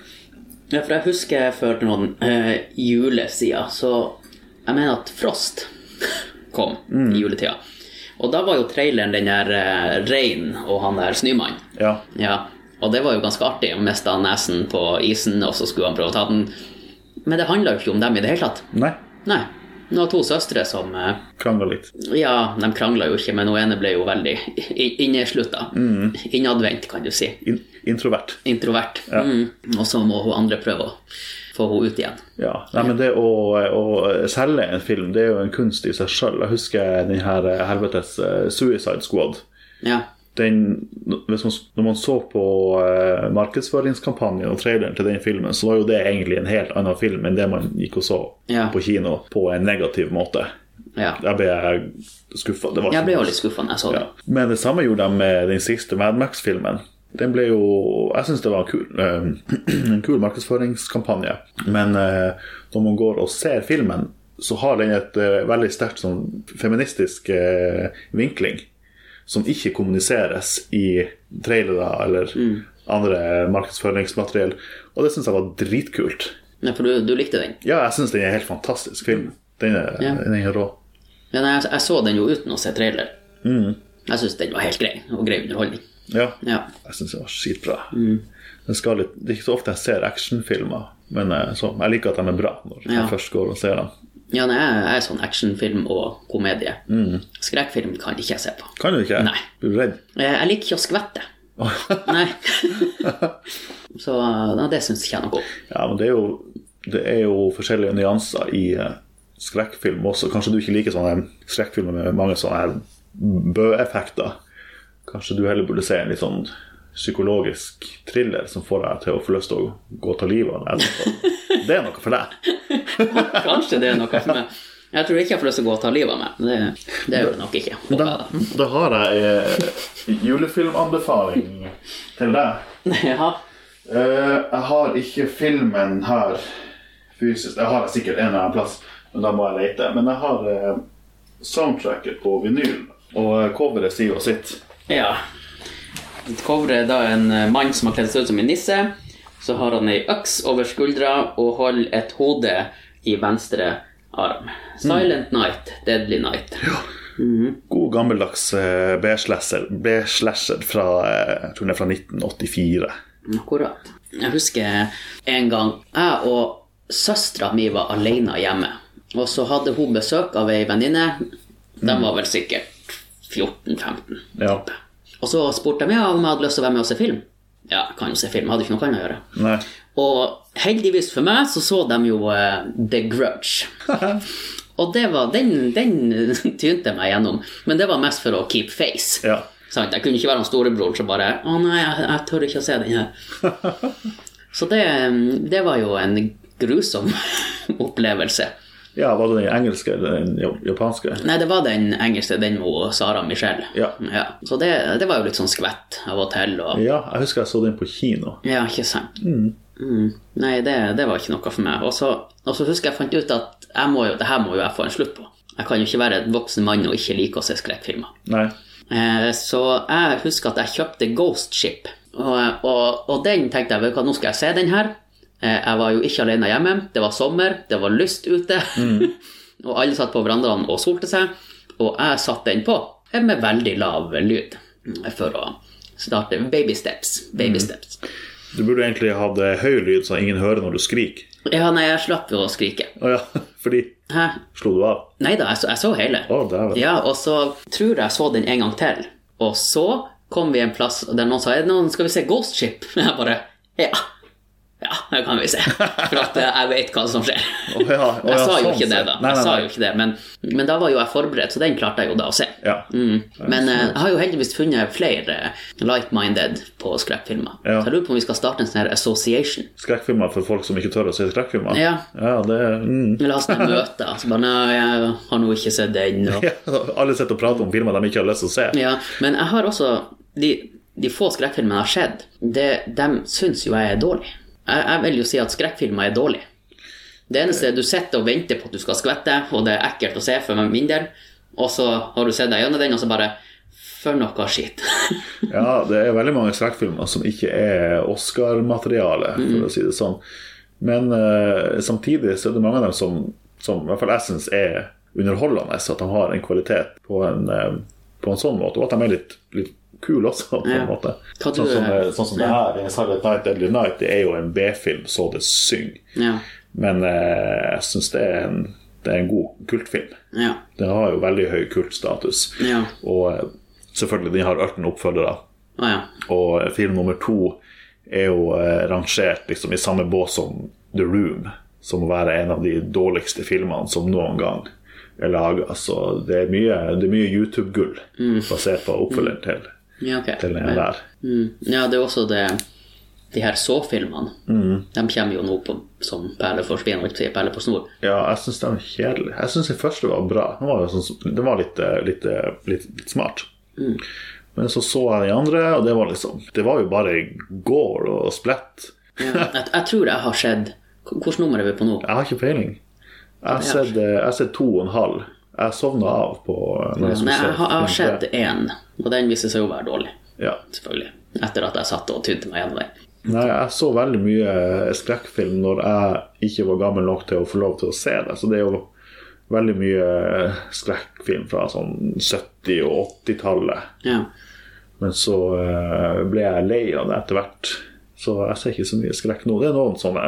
A: ja, for jeg husker for noen eh, julesider, så Jeg mener at Frost [LAUGHS] kom i juletida. Og da var jo traileren den der eh, reinen og han der snømannen.
B: Ja.
A: Ja, og det var jo ganske artig. Han mista nesen på isen, og så skulle han prøve å ta den. Men det handla jo ikke om dem i det hele tatt.
B: Nei.
A: Nei. Det var to søstre som eh,
B: Krangla litt.
A: Ja, de krangla jo ikke, men hun ene ble jo veldig [LAUGHS] i- inneslutta. Innadvendt, kan du si.
B: In introvert.
A: Introvert. Mm. Og så må hun andre prøve å få henne ut igjen.
B: Ja. Nei, men det å, å selge en film, det er jo en kunst i seg sjøl. Jeg husker den her helvetes eh, Suicide Squad.
A: Ja.
B: den, hvis man, når man så på eh, markedsføringskampanjen og traileren til den filmen, så var jo det egentlig en helt annen film enn det man gikk og så
A: Ja.
B: på kino på en negativ måte.
A: ja.
B: Der ble jeg skuffa. Det var
A: Jeg
B: ikke-
A: ble jo litt skuffa når jeg så det.
B: ja. Men det samme gjorde de med den siste Mad Max-filmen. Den ble jo Jeg syns det var en kul, eh, [CLEARS THROAT] en kul markedsføringskampanje. Men eh, når man går og ser filmen, så har den et eh, veldig sterkt sånn feministisk eh, vinkling. Som ikke kommuniseres i trailere eller andre markedsføringsmateriell. Og det syns jeg var dritkult.
A: Nei, For du, du likte den?
B: Ja, jeg syns den er en helt fantastisk film. Den er,
A: Ja.
B: den er rå.
A: Ja, nei, jeg, jeg så den jo uten å se trailer. Jeg syns den var helt grei, og grei underholdning.
B: Ja.
A: Ja.
B: Jeg syns det var skitbra.
A: Mm.
B: Den skal litt, det er ikke så ofte jeg ser actionfilmer, men eh, så, jeg liker at de er bra når
A: Ja.
B: jeg først går og ser dem.
A: Ja, nei, jeg jeg er sånn actionfilm og komedie. Skrekkfilm kan ikke jeg se på.
B: Kan du ikke?
A: Nei.
B: Blir du redd?
A: Eh, Jeg liker ikke å skvette. Nei. [LAUGHS] Så ja, det syns ikke jeg noe om.
B: Ja, men det er jo, det er jo forskjellige nyanser i eh, skrekkfilm også. Kanskje du ikke liker sånne skrekkfilmer med mange sånne her bø-effekter. Kanskje du heller burde se en litt sånn psykologisk thriller som får deg til å få lyst til å gå og ta livet av
A: [LAUGHS]
B: deg etterpå. Det er noe for deg.
A: Kanskje det er noe for meg. Jeg tror ikke jeg får lyst til å gå og ta livet av meg. Det, det gjør jeg nok ikke. håper [LAUGHS]
B: Da,
A: jeg
B: da har jeg eh, julefilmanbefaling til deg.
A: da. Jaha.
B: Eh, jeg har ikke filmen her fysisk. Jeg har sikkert en eller annen plass. Men da må jeg lete. Men jeg har eh, soundtracket på vinyl, og eh, coveret sier jo sitt.
A: Ja. Coveret er da en eh, mann som har kledd seg ut som en nisse. Så har han ei øks over skuldra og holder et hode i venstre arm. Silent Night, Deadly Night.
B: God gammeldags eh, B-slasher B-slasher fra, eh, jeg tror den er fra 1984.
A: Akkurat. Jeg husker en gang jeg og søstera mi var alene hjemme. Og så hadde hun besøk av ei venninne. De var vel sikkert 14-15.
B: Ja.
A: Og så spurte de ja, om jeg hadde lyst til å være med og se film. Ja, jeg kan jo se film. Hadde ikke noe annet å gjøre.
B: Nei.
A: Og heldigvis for meg så så de jo eh, The Grudge. Og det var, den, den [LAUGHS] tynte jeg meg gjennom. Men det var mest for å keep face.
B: Ja.
A: Sant? Jeg kunne ikke være han storebroren som bare Å nei, jeg, jeg tør ikke å se den her. [LAUGHS] Så det, um, det var jo en grusom [LAUGHS] opplevelse.
B: ja, var det den engelske eller den jap- japanske?
A: Nei, det var den engelske, den med Sara Michelle.
B: Ja.
A: Så det, det var jo litt sånn skvett av og til. Og,
B: Ja, jeg husker jeg så den på kino.
A: Ja, ikke sant. Mm. Nei, det, det var ikke noe for meg. Og så, og så husker jeg fant ut at jeg må jo, det her må jo jeg få en slutt på. Jeg kan jo ikke være en voksen mann og ikke like å se skrekkfilmer.
B: Nei.
A: Eh, så jeg husker at jeg kjøpte Ghost Ship, og, og, og den tenkte jeg, vet du hva, nå skal jeg se den her. Eh, jeg var jo ikke alene hjemme, det var sommer, det var lyst ute, [LAUGHS] og alle satt på verandaen og solte seg, og jeg satt den på, eh, med veldig lav lyd, eh, for å starte baby steps, baby steps.
B: Du burde egentlig hatt eh, høy lyd, så ingen hører når du skriker.
A: Ja, nei, jeg slapp jo å skrike.
B: Å ja, [LAUGHS] fordi
A: Hæ?
B: Slo du av?
A: Nei da, jeg så, jeg så hele.
B: Å, dæven.
A: Ja, og så tror jeg jeg så den en gang til. Og så kom vi en plass der noen sa «Er det noen, skal vi se Ghost Ship? [LAUGHS] Jeg bare ja. Ja, det kan vi se. For at eh, jeg vet hva som skjer.
B: Å ja, å
A: Jeg
B: ja,
A: sa jo
B: sånn
A: ikke det,
B: sett.
A: da.
B: Nei,
A: Jeg
B: nei,
A: sa
B: nei.
A: jo ikke det, men, men da var jo jeg forberedt, så den klarte jeg jo da å se.
B: Ja. sånn.
A: Mm. Men eh, jeg har jo heldigvis funnet flere light-minded på skrekkfilmer. Så
B: Ja.
A: jeg lurer på om vi skal starte en sånn her association.
B: Skrekkfilmer for folk som ikke tør å se skrekkfilmer?
A: Ja.
B: ja det er- mm.
A: Eller ha
B: [LAUGHS]
A: sånne møter. Så bare, nei, jeg har nå ikke sett den. Og...
B: ja, [LAUGHS] Alle sitter og prater om filmer de ikke har lyst til å se.
A: Ja, men jeg har også De, de få skrekkfilmene jeg har sett, det- de syns jo jeg er dårlig. Jeg, jeg vil jo si at skrekkfilmer er dårlig. Det eneste du sitter og venter på at du skal skvette, og det er ekkelt å se for min del, og så har du sett deg gjennom den, og så bare For noe skitt.
B: Ja, det er veldig mange skrekkfilmer som ikke er Oscar-materiale,
A: Mm.
B: for å si det sånn. Men eh, samtidig så er det mange av dem som, som i hvert fall jeg syns er underholdende, så at de har en kvalitet på en, eh, på en sånn måte, og at de er litt, litt kule også, på en
A: Ja.
B: måte.
A: [LAUGHS] Hva du-
B: Sånn som, eh, sånn som det her, i Silent Night Deadly Night, det er jo en B-film, så det synger.
A: ja.
B: Men eh, jeg syns det, er en- det er en god kultfilm.
A: ja.
B: Den har jo veldig høy kultstatus.
A: Ja.
B: Og eh, selvfølgelig, den har 18 oppfølgere.
A: Å ja.
B: Og film nummer to er jo eh, rangert liksom, i samme bås som The Room, som må være en av de dårligste filmene som noen gang er laga. Så det er mye, det er mye YouTube-gull basert på oppfølgeren til,
A: Ja, ok.
B: til den der.
A: Mm. ja, det er også det De her så-filmene.
B: Mm.
A: De kommer jo nå på, som perler for spinn, og ikke perler på snor.
B: Ja, jeg syns den er kjedelig. Jeg syns den første var bra. Den var, jo sånn, den var litt, eh, litt, eh, litt, litt smart. Men så så jeg den andre, og det var liksom Det var jo bare gore og splett.
A: Ja, jeg, jeg tror jeg har sett Hvilket nummer er vi på nå?
B: Jeg har ikke peiling. Jeg har sett, eh, jeg har sett to og en halv. Jeg sovna av på eh, når jeg
A: Nei,
B: skulle se
A: jeg har, jeg har
B: film
A: sett én, og den viser seg å være dårlig.
B: tre. Ja.
A: Selvfølgelig. Etter at jeg satt og tynte meg gjennom den.
B: Nei, jeg så veldig mye eh, skrekkfilm når jeg ikke var gammel nok til å få lov til å se det. Så det er jo veldig mye eh, skrekkfilm fra sånn 70- og 80-tallet.
A: Ja.
B: Men så eh, ble jeg lei av det etter hvert. Så jeg ser ikke så mye skrekk nå. Det er noen sånne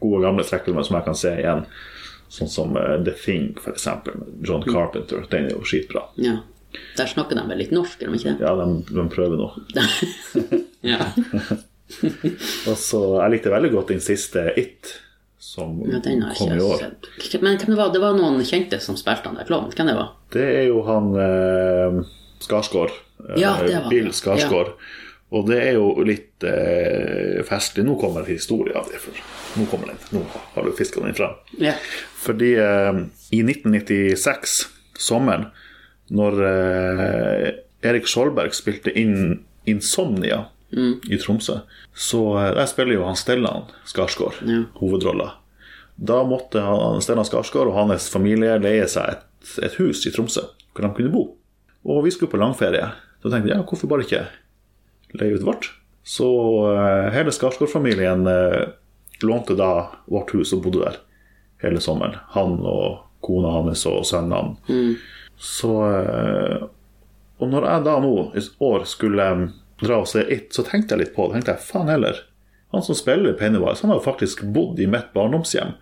B: gode, gamle skrekkfilmer som jeg kan se igjen. Sånn som eh, The Thing, f.eks. John
A: Mm.
B: Carpenter. Den er jo skitbra.
A: ja. Der snakker de vel litt norsk, gjør de ikke det?
B: Ja, de, de prøver nå.
A: Ja.
B: Og så, Jeg likte veldig godt den siste It, som
A: ja den har
B: kom
A: jeg
B: i
A: ikke
B: år.
A: sett. Men hvem det var? Det var noen kjente som spilte han der klovnen. Hvem det var?
B: Det er jo han eh, Skarsgård. eh,
A: Ja, det var han, ja.
B: Bill Skarsgård. Og det er jo litt eh, festlig. Nå kommer en historie av det. For. Nå kommer den. Nå har du fiska den fram.
A: Ja.
B: Fordi eh, i 1996, sommeren, når eh, Erik Skjoldberg spilte inn Insomnia i Tromsø, så eh, der spiller jo han Stellan Skarsgård hovedrolla. Da måtte han, Steinar Skarsgård og hans familie leie seg et, et hus i Tromsø hvor de kunne bo. Og vi skulle på langferie. Så tenkte jeg ja, hvorfor bare ikke leie ut vårt? Så eh, hele Skarsgård-familien eh, lånte da vårt hus og bodde der hele sommeren. Han og kona hans og sønnene. Så eh, Og når jeg da nå i år skulle eh, dra og se It, så tenkte jeg litt på det. tenkte jeg, faen heller. Han som spiller Pennywise, han har jo faktisk bodd i mitt barndomshjem.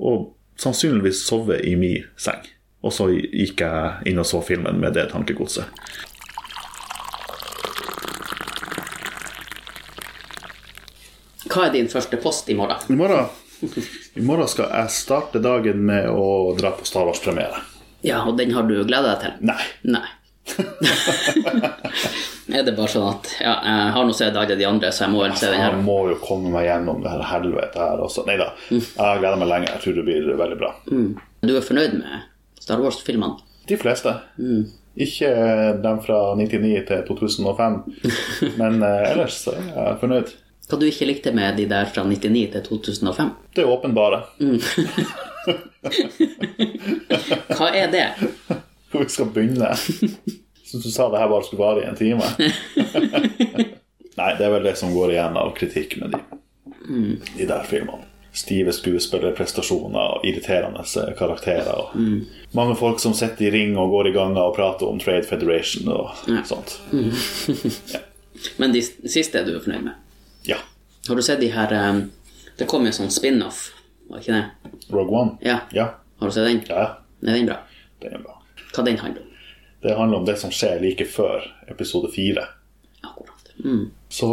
B: Og sannsynligvis sovet i min seng. Og så gikk jeg inn og så filmen med det tankegodset.
A: Hva er din første post i morgen?
B: I morgen, I morgen skal jeg starte dagen med å dra på Star Wars-premiere.
A: Ja, og den har du gleda deg til?
B: Nei.
A: [LAUGHS] Nei. er det bare sånn at ja, jeg har nå sett alle de andre, så jeg må vel se den her.
B: Jeg må jo komme meg gjennom det her helvete her også. Nei da.
A: Mm.
B: Jeg gleder meg lenge. Jeg tror det blir veldig bra.
A: Du er fornøyd med Star Wars-filmene?
B: De fleste.
A: Mm.
B: Ikke dem fra 99 til
A: [LAUGHS]
B: 2005. Men eh, ellers er jeg fornøyd.
A: Hva du ikke likte med de der fra 99 til 2005?
B: Det er åpenbare.
A: Hva er det?
B: Hvor vi skal begynne. Syns du sa det her bare skulle vare i en time? Nei, det er vel det som går igjen av kritikk med de, de der filmene. Stive skuespillerprestasjoner og irriterende eh, karakterer. Og Mange folk som sitter i ring og går i ganger og prater om Trade Federation og sånt.
A: Men de siste er du fornøyd med?
B: Ja.
A: Har du sett de her eh, Det kom jo en sånn spin-off, var ikke det?
B: Rogue One.
A: Ja.
B: Ja.
A: Har du sett den?
B: ja.
A: Er den bra?
B: Det er bra.
A: Hva den handler om?
B: Det handler om det som skjer like før episode fire.
A: Akkurat. Mm.
B: Så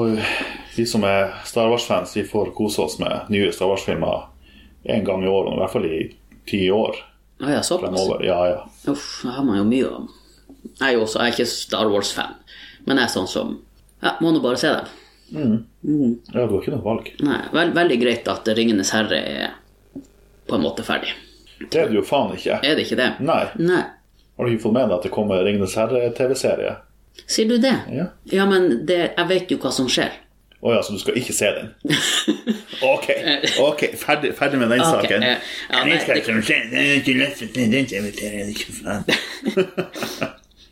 B: vi som er Star Wars-fans, vi får kose oss med nye Star Wars-filmer en gang i året, i hvert fall i ti år
A: Å ja, såpass?
B: fremover. Ja, ja.
A: Uff, da har man jo mye å Jeg er jo også, jeg er ikke Star Wars-fan, men jeg er sånn som Ja, må nå bare se dem.
B: ja du har ikke noe valg.
A: Nei, vel, veldig greit at 'Ringenes herre' er på en måte ferdig.
B: Det er du jo faen ikke.
A: Er det ikke det?
B: Nei.
A: Nei.
B: Har du ikke fått med deg at det kommer Ringenes herre-TV-serie?
A: Sier du det?
B: Ja.
A: Ja, men det, jeg vet jo hva som skjer.
B: Å ja, så du skal ikke se
A: [LAUGHS]
B: den? Ok, ok, ferdig, ferdig med den
A: Ok,
B: saken.
A: eh, ja, nei, det-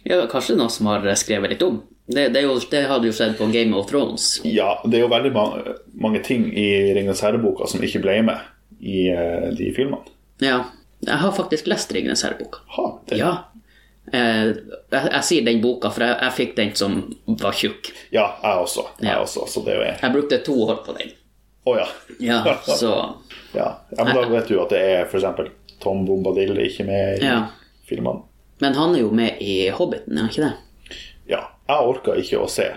A: Ja, kanskje noen som har eh, skrevet litt om. Det, det, er jo, det har du jo sett på Game of Thrones.
B: Ja, det er jo veldig mange, mange ting i Ringenes herre-boka som ikke ble med i eh, de filmene.
A: Ja. Jeg har faktisk lest Ringenes herre-boka.
B: Ha, det,
A: Ja. Eh, jeg, jeg sier den boka, for jeg, jeg fikk den som var tjukk.
B: ja, jeg også. Jeg
A: Ja.
B: også, så det er jo en.
A: Jeg brukte to år på den.
B: Å ja.
A: Ja,
B: [LAUGHS]
A: så
B: ja. Ja, Men da vet du at det er f.eks. Tom Bombadil ikke med i
A: Ja.
B: filmene.
A: Men han er jo med i Hobbiten, er han ikke det?
B: Ja. Jeg orka ikke å se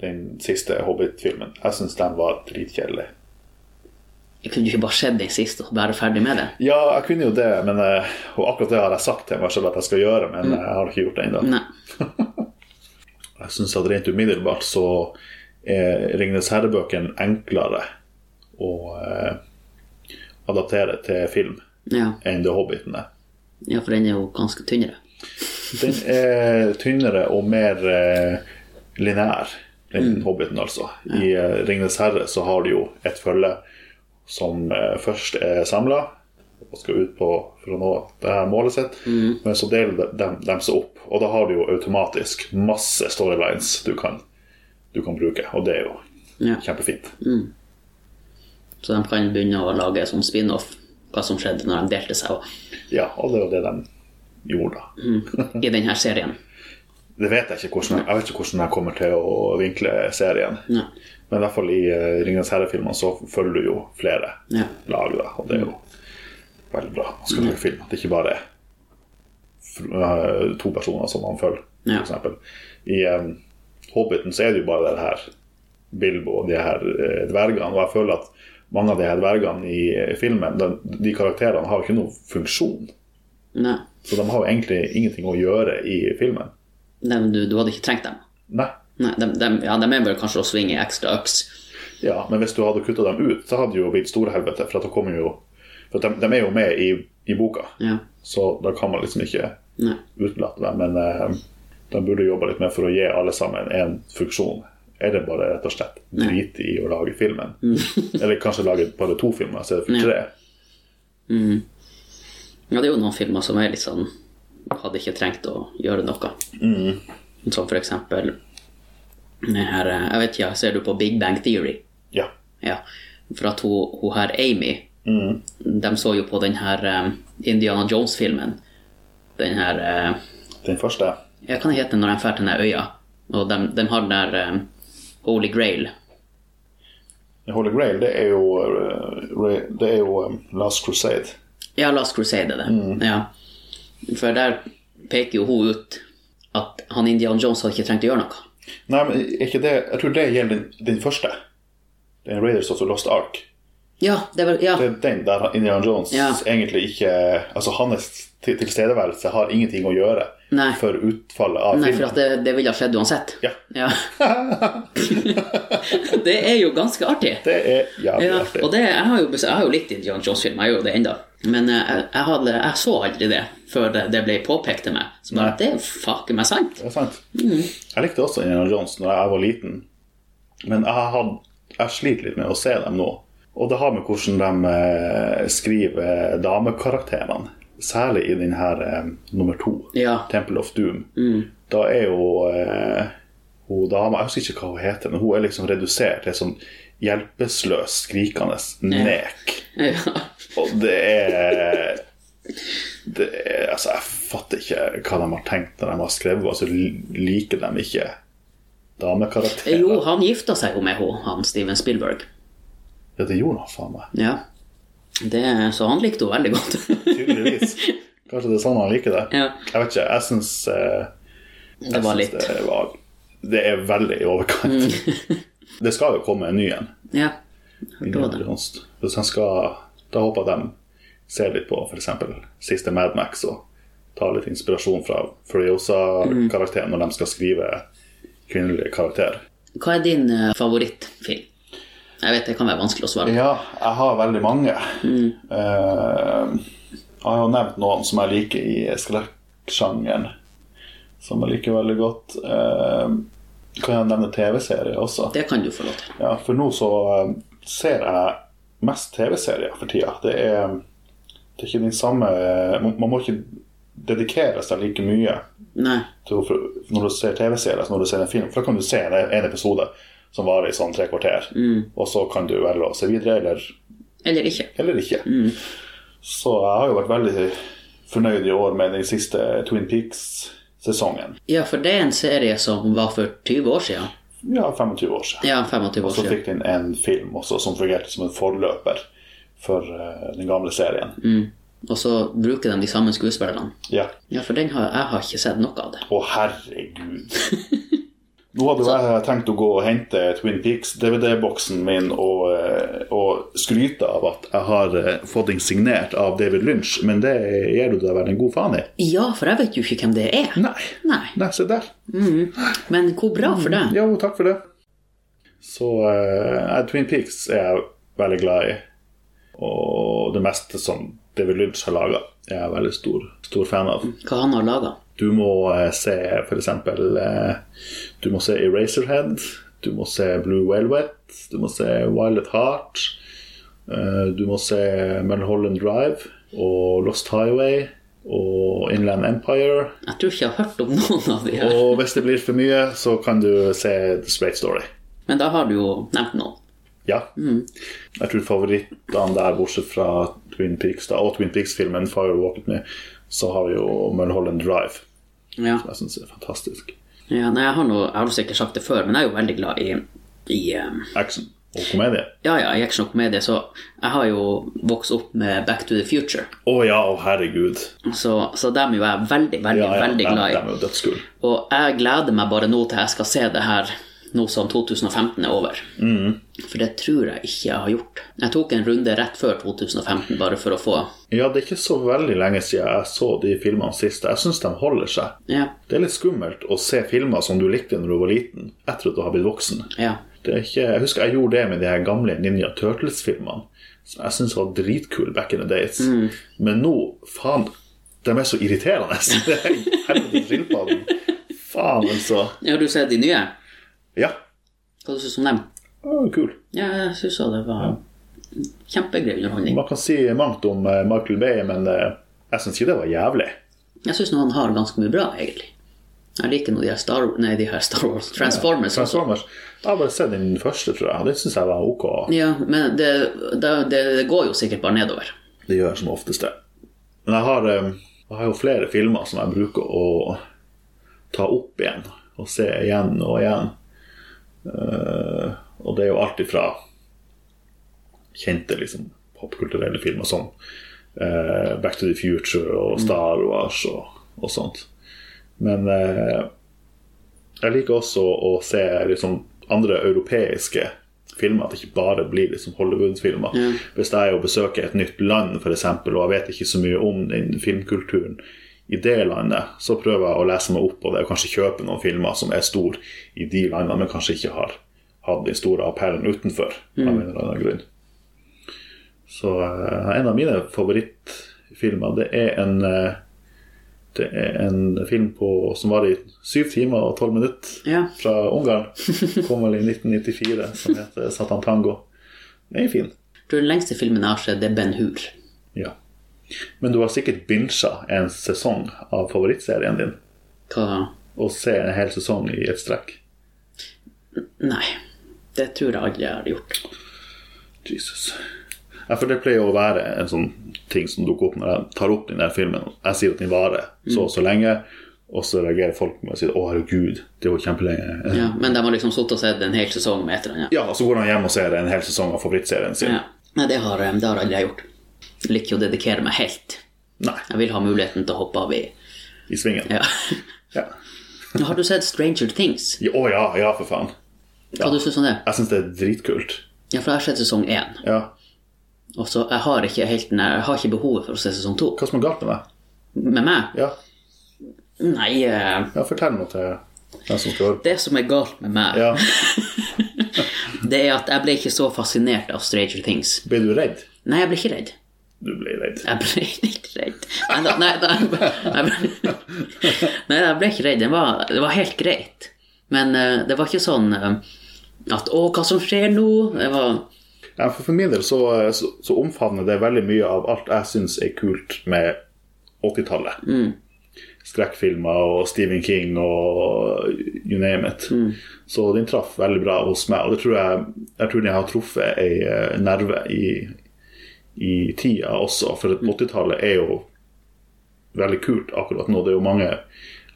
B: den siste Hobbit-filmen. Jeg syns den var dritkjedelig.
A: Jeg kunne jo ikke bare sett den sist og være ferdig med det.
B: Ja, jeg kunne jo det, men, eh, og akkurat det har jeg sagt til meg selv at jeg skal gjøre,
A: Mm.
B: men jeg har ikke gjort det ennå.
A: Nei.
B: Jeg syns at rent umiddelbart så er Ringnes herre-bøkene enklere å eh, adaptere til film
A: Ja.
B: enn The Hobbiten er.
A: ja, for den er jo ganske tynnere.
B: Den er tynnere og mer eh, lineær enn Hobbiten, altså. I eh, Ringnes herre så har du jo et følge som eh, først er samla og skal ut på for å nå det her målet sitt, men så deler de, dem- dem seg opp. Og da har du jo automatisk masse storylines du kan, du kan bruke, og det er jo
A: Ja.
B: kjempefint.
A: Så de kan begynne å lage sånn spin-off, hva som skjedde når de delte seg, og
B: Ja, og det er jo det de gjorde, da.
A: Mm. i denne serien.
B: Det vet jeg ikke hvordan Jeg vet ikke hvordan jeg kommer til å vinkle serien.
A: Nei.
B: Men i hvert fall i eh, Ringenes herre-filmene så følger du jo flere
A: Ja.
B: lag, da. Og det er jo veldig bra. Man skal lage film. At det ikke bare er fr- eh, to personer som man følger,
A: Ja.
B: for eksempel. I eh, Hobbiten så er det jo bare det her Bilbo og de her eh, dvergene. Og jeg føler at mange av de her dvergene i eh, filmen, de, de karakterene har jo ikke noen funksjon.
A: Nei.
B: Så de har jo egentlig ingenting å gjøre i filmen.
A: Dem- du, du hadde ikke trengt dem.
B: Nei.
A: Nei, dem, dem, ja, dem er vel kanskje å svinge i ekstra øks.
B: Ja, men hvis du hadde kutta dem ut, så hadde det jo blitt storhelvete. For, at da kommer jo, for at de, de er jo med i, i boka,
A: Ja.
B: så da kan man liksom ikke
A: Nei.
B: utelate dem. Men eh, de burde jobba litt mer for å gi alle sammen en funksjon. Eller bare rett og slett [LAUGHS] drite i å lage filmen. Eller kanskje lage bare to filmer i stedet for tre.
A: Ja, det er jo noen filmer som er litt sånn Hadde ikke trengt å gjøre noe. Som for eksempel den her, eh, Jeg vet ikke, ser du på Big Bang Theory?
B: Ja.
A: Ja. For at hun, hun her Amy
B: Mm.
A: De så jo på den her eh, Indiana Jones-filmen. Den her eh,
B: Den første.
A: Jeg kan hete den når de drar til den her øya. Og de, de har den der eh, Holy Grail.
B: Holy Grail, det er jo, eh, Ra- det er jo eh, Last Crusade.
A: Ja, Last Crusade er det.
B: Mm.
A: Ja. For der peker jo hun ut at han Indiana Jones hadde ikke trengt å gjøre noe.
B: Nei, men er ikke det Jeg tror det gjelder den, den første. Den Raiders of the Lost Ark.
A: Ja, det var, ja.
B: Det er den der Indiana Jones
A: Ja.
B: egentlig ikke Altså hans til- tilstedeværelse har ingenting å gjøre
A: Nei.
B: for utfallet av
A: Nei, for
B: filmen.
A: at det, det ville ha skjedd uansett.
B: Ja. [LAUGHS]
A: det er jo ganske artig.
B: Det er jævlig
A: Ja,
B: artig.
A: og det, jeg, har jo, jeg har jo likt Indiana Jones-filmer, jeg gjør jo det enda Men eh, jeg, jeg, hadde, jeg så aldri det før det, det ble påpekt til meg. Så bare,
B: Nei.
A: det er jo faken meg sant. [LAUGHS]
B: Det er sant. Jeg likte også Indiana Jones når jeg var liten, men jeg, har hatt- jeg sliter litt med å se dem nå. Og det har med hvordan de eh, skriver damekarakterene, særlig i den her eh, nummer to,
A: Ja.
B: Temple of Doom. Da er jo eh, hun dama, jeg husker ikke hva hun heter, men hun er liksom redusert til sånn hjelpeløs, skrikende nek.
A: Ja.
B: Og det er, det er Altså, jeg fatter ikke hva de har tenkt når de har skrevet, og så liker de ikke damekarakterer.
A: Jo, han gifta seg jo med henne, han Steven Spielberg.
B: Ja, det gjorde han faen meg.
A: Ja. Det, så han likte henne veldig godt. [LAUGHS]
B: Tydeligvis. Kanskje det er sånn han liker det.
A: Ja.
B: Jeg vet ikke. Jeg syns eh,
A: det var litt Mm.
B: Det, var, det er veldig i overkant.
A: [LAUGHS]
B: det skal jo komme en ny en.
A: Ja.
B: Indiana Jones. Hvis han skal, da håper jeg de ser litt på f.eks. siste Mad Max og tar litt inspirasjon fra Furiosa-karakteren når de skal skrive kvinnelig karakter.
A: Hva er din eh, favorittfilm? Jeg vet det kan være vanskelig å svare på.
B: Ja, jeg har veldig mange. Eh, jeg har jo nevnt noen som jeg liker i skrekksjangeren, som jeg liker veldig godt. Eh, kan jeg nevne TV-serier også?
A: Det kan du få lov til.
B: Ja, for nå så eh, ser jeg mest TV-serier for tida. Det er, det er ikke den samme eh, Man man må ikke dedikere seg like mye
A: Nei.
B: til, å- når du ser TV-serier som når du ser en film. For da kan du se en, en episode som varer i sånn tre kvarter, og så kan du velge å se videre eller,
A: Eller ikke.
B: eller ikke. Så jeg har jo vært veldig fornøyd i år med den siste Twin Peaks-sesongen.
A: Ja, for det er en serie som var for 20 år siden.
B: Ja, 25 år siden.
A: Ja, 25 år
B: Så
A: siden.
B: fikk den en film også som fungerte som en forløper for eh, den gamle serien.
A: Og så bruker de de samme skuespillerne.
B: Ja.
A: Ja, for den har, jeg har ikke sett noe av det.
B: Å, herregud. Nå hadde jo jeg tenkt å gå og hente Twin Peaks, DVD-boksen min, og, eh, og skryte av at jeg har eh, fått den signert av David Lynch, men det gjør du deg vel en god faen i?
A: Ja, for jeg vet jo ikke hvem det er.
B: Nei.
A: Nei.
B: Nei, se der.
A: Men hvor bra for det.
B: Jo, takk for det. Så eh, nei, Twin Peaks er jeg veldig glad i. Og det meste som David Lynch har laga, er jeg veldig stor, stor fan av.
A: Hva han har laga.
B: Du må eh, se f.eks. Uh, du må se Eraserhead. Du må se Blue Velvet. Du må se Violet Heart. eh, du må se Mulholland Drive og Lost Highway og Inland Empire.
A: Jeg tror ikke jeg har hørt om noen av de her.
B: Og hvis det blir for mye, så kan du se The Straight Story.
A: Men da har du jo nevnt noen.
B: Ja.
A: Mm.
B: Jeg tror favorittene der, bortsett fra Twin Peaks da, og Twin Peaks-filmen 'Fire Walk With Me', så har vi jo Mulholland Drive.
A: Ja.
B: Jeg syns det er fantastisk.
A: ja nei, jeg har, noe, jeg har jo sikkert sagt det før, men jeg er jo veldig glad i, i um,
B: Action og komedie.
A: Ja, ja, i action og komedie, så jeg har jo vokst opp med Back to the Future.
B: Å ja, å herregud.
A: Så, så dem er jo jeg veldig, veldig,
B: Ja, ja,
A: veldig
B: de,
A: glad i.
B: de er jo dødskule.
A: Og jeg gleder meg bare nå til jeg skal se det her nå som 2015 er over. For det tror jeg ikke jeg har gjort. Jeg tok en runde rett før 2015 bare for å få
B: Ja, det er ikke så veldig lenge siden jeg så de filmene sist. Jeg syns de holder seg.
A: Ja.
B: Det er litt skummelt å se filmer som du likte når du var liten, etter at du har blitt voksen.
A: ja.
B: Det er ikke, jeg husker jeg gjorde det med de her gamle Ninja Turtles-filmene. Som jeg syntes var dritkul back in the days. Men nå, faen, de er så irriterende. [LAUGHS] Det er Helvete skilpadden. Faen, altså.
A: Har du sett de nye?
B: Ja,
A: Hva syns du om dem?
B: det var jo kul.
A: Ja, jeg syns det var Kjempegrei underholdning.
B: Man kan si mangt om eh, Michael Bay, men eh, jeg syns ikke det var jævlig.
A: Jeg syns han har ganske mye bra, egentlig. Jeg liker nå de her Star, nei, de her Star Wars Transformers. også.
B: Transformers. Jeg har bare sett den første, tror jeg. og Det syns jeg var ok.
A: Ja, men det, det, det går jo sikkert bare nedover.
B: Det gjør jeg som oftest det. Men jeg har, eh, jeg har jo flere filmer som jeg bruker å ta opp igjen og se igjen og igjen. Eh, og det er jo alt ifra kjente liksom, popkulturelle filmer som eh, Back to the Future og Star Wars og, og sånt. Men eh, jeg liker også å se liksom, andre europeiske filmer, at det ikke bare blir liksom, Hollywood-filmer. Hvis jeg er og besøker et nytt land, f.eks., og jeg vet ikke så mye om den filmkulturen i det landet, så prøver jeg å lese meg opp på det og kanskje kjøpe noen filmer som er store i de landene, men kanskje ikke har hatt den store appellen utenfor. av en eller annen grunn. Så eh, en av mine favorittfilmer, det er en eh, det er en film på, som var i syv timer og tolv minutter
A: Ja.
B: fra Ungarn. Kom vel i 1994, som heter 'Satan Tango'. Den er fin.
A: Jeg tror den lengste filmen jeg har sett, det er Ben Hur.
B: Ja. Men du har sikkert bincha en sesong av favorittserien din.
A: Hva
B: Og se en hel sesong i et strekk.
A: Nei. Det tror jeg aldri jeg har gjort.
B: Jesus. Ja, for det pleier å være en sånn ting som dukker opp når jeg tar opp den der filmen. Jeg sier at den varer så og så lenge, og så reagerer folk med å si 'Å, herregud, det var kjempelenge'.
A: Ja, men de har liksom sittet og sett en hel sesong med et eller annet.
B: Ja, og så går han hjem og ser en hel sesong av favorittserien sin.
A: Ja. Nei, det har, eh, det har aldri jeg gjort. Jeg liker jo å dedikere meg helt.
B: Nei,
A: Jeg vil ha muligheten til å hoppe av i
B: i svingen.
A: Ja. [LAUGHS]
B: Ja.
A: Har du sett Stranger Things?
B: Ja, Å ja, ja, for faen.
A: Hva du syns du om det?
B: Jeg syns det er dritkult.
A: Ja, for jeg har sett sesong én.
B: Ja.
A: Og så jeg har ikke helt den- Jeg har ikke behovet for å se sesong to.
B: Hva som er galt med meg?
A: Med meg?
B: Ja,
A: Nei, eh,
B: ja fortell noe til den som skal høre.
A: det som er galt med meg,
B: Ja.
A: det er at jeg ble ikke så fascinert av Stranger Things.
B: Ble du redd?
A: Nei, jeg ble ikke redd.
B: Du ble redd.
A: Jeg ble [LAUGHS] ikke redd. Nei, da, nei, da, jeg ble, jeg ble, [LAUGHS] nei, jeg ble ikke redd. Det var, det var helt greit. Men eh, det var ikke sånn eh, at 'Å, hva som skjer nå?' Det var
B: Ja, for, for min del så, så, så omfavner det veldig mye av alt jeg syns er kult med 80-tallet. Skrekkfilmer og Stephen King og you name it. Så den traff veldig bra hos meg, og det tror jeg, jeg tror den har truffet ei eh, nerve i, i tida også. For at 80-tallet er jo veldig kult akkurat nå. Det er jo mange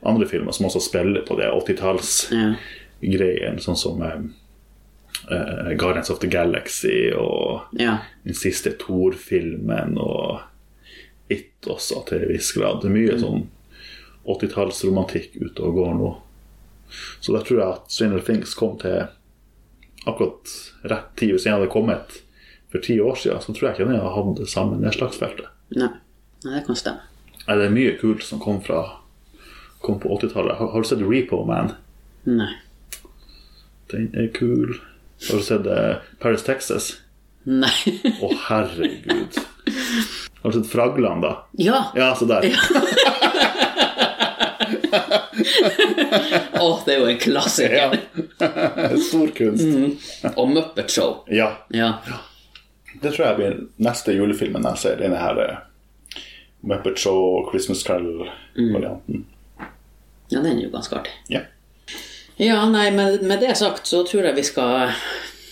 B: andre filmer som også spiller på det 80-talls
A: ja.
B: greien, sånn som eh, eh, Guardians of the Galaxy og
A: ja.
B: den siste Thor-filmen og It også, til en viss grad. Det er mye sånn 80-tallsromantikk ute og går nå. Så der tror jeg at Stranger Things kom til akkurat rett tid. Hvis den hadde kommet for ti år siden, så tror jeg ikke den hadde hatt det samme nedslagsfeltet.
A: Nei. nei, det kan stemme.
B: Nei, Det er mye kult som kom fra kom på 80-tallet. Har, har du sett Repo Man?
A: Nei.
B: Den er kul. Har du sett eh, Paris, Texas?
A: Nei. [LAUGHS]
B: Å, [LAUGHS] herregud. Har du sett Fragland, da?
A: Ja! Å,
B: Ja, se der.
A: det er jo en klassiker.
B: [LAUGHS] Stor kunst.
A: Og Muppet Show.
B: Ja.
A: Ja.
B: Det tror jeg blir neste julefilmen jeg ser. Denne her eh, Muppet Show Christmas Carol-varianten.
A: ja, den er jo ganske artig.
B: Ja.
A: Ja, nei, men med det sagt så tror jeg vi skal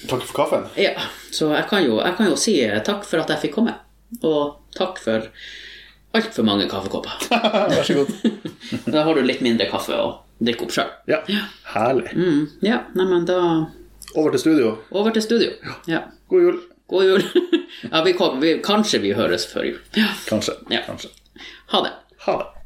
B: Takk for kaffen.
A: Ja, så jeg kan jo, jeg kan jo si eh, takk for at jeg fikk komme. Og takk for altfor mange kaffekopper. [LAUGHS]
B: Vær så god.
A: Da har du litt mindre kaffe å drikke opp sjøl.
B: Ja, herlig.
A: Mm, ja, nei, men da
B: Over til studio.
A: over til studio. Ja.
B: God jul.
A: God jul. [LAUGHS] Ja, vi kom, vi, kanskje vi høres før jul. Ja.
B: Kanskje.
A: Ja.
B: Kanskje.
A: Ha det.
B: Ha det.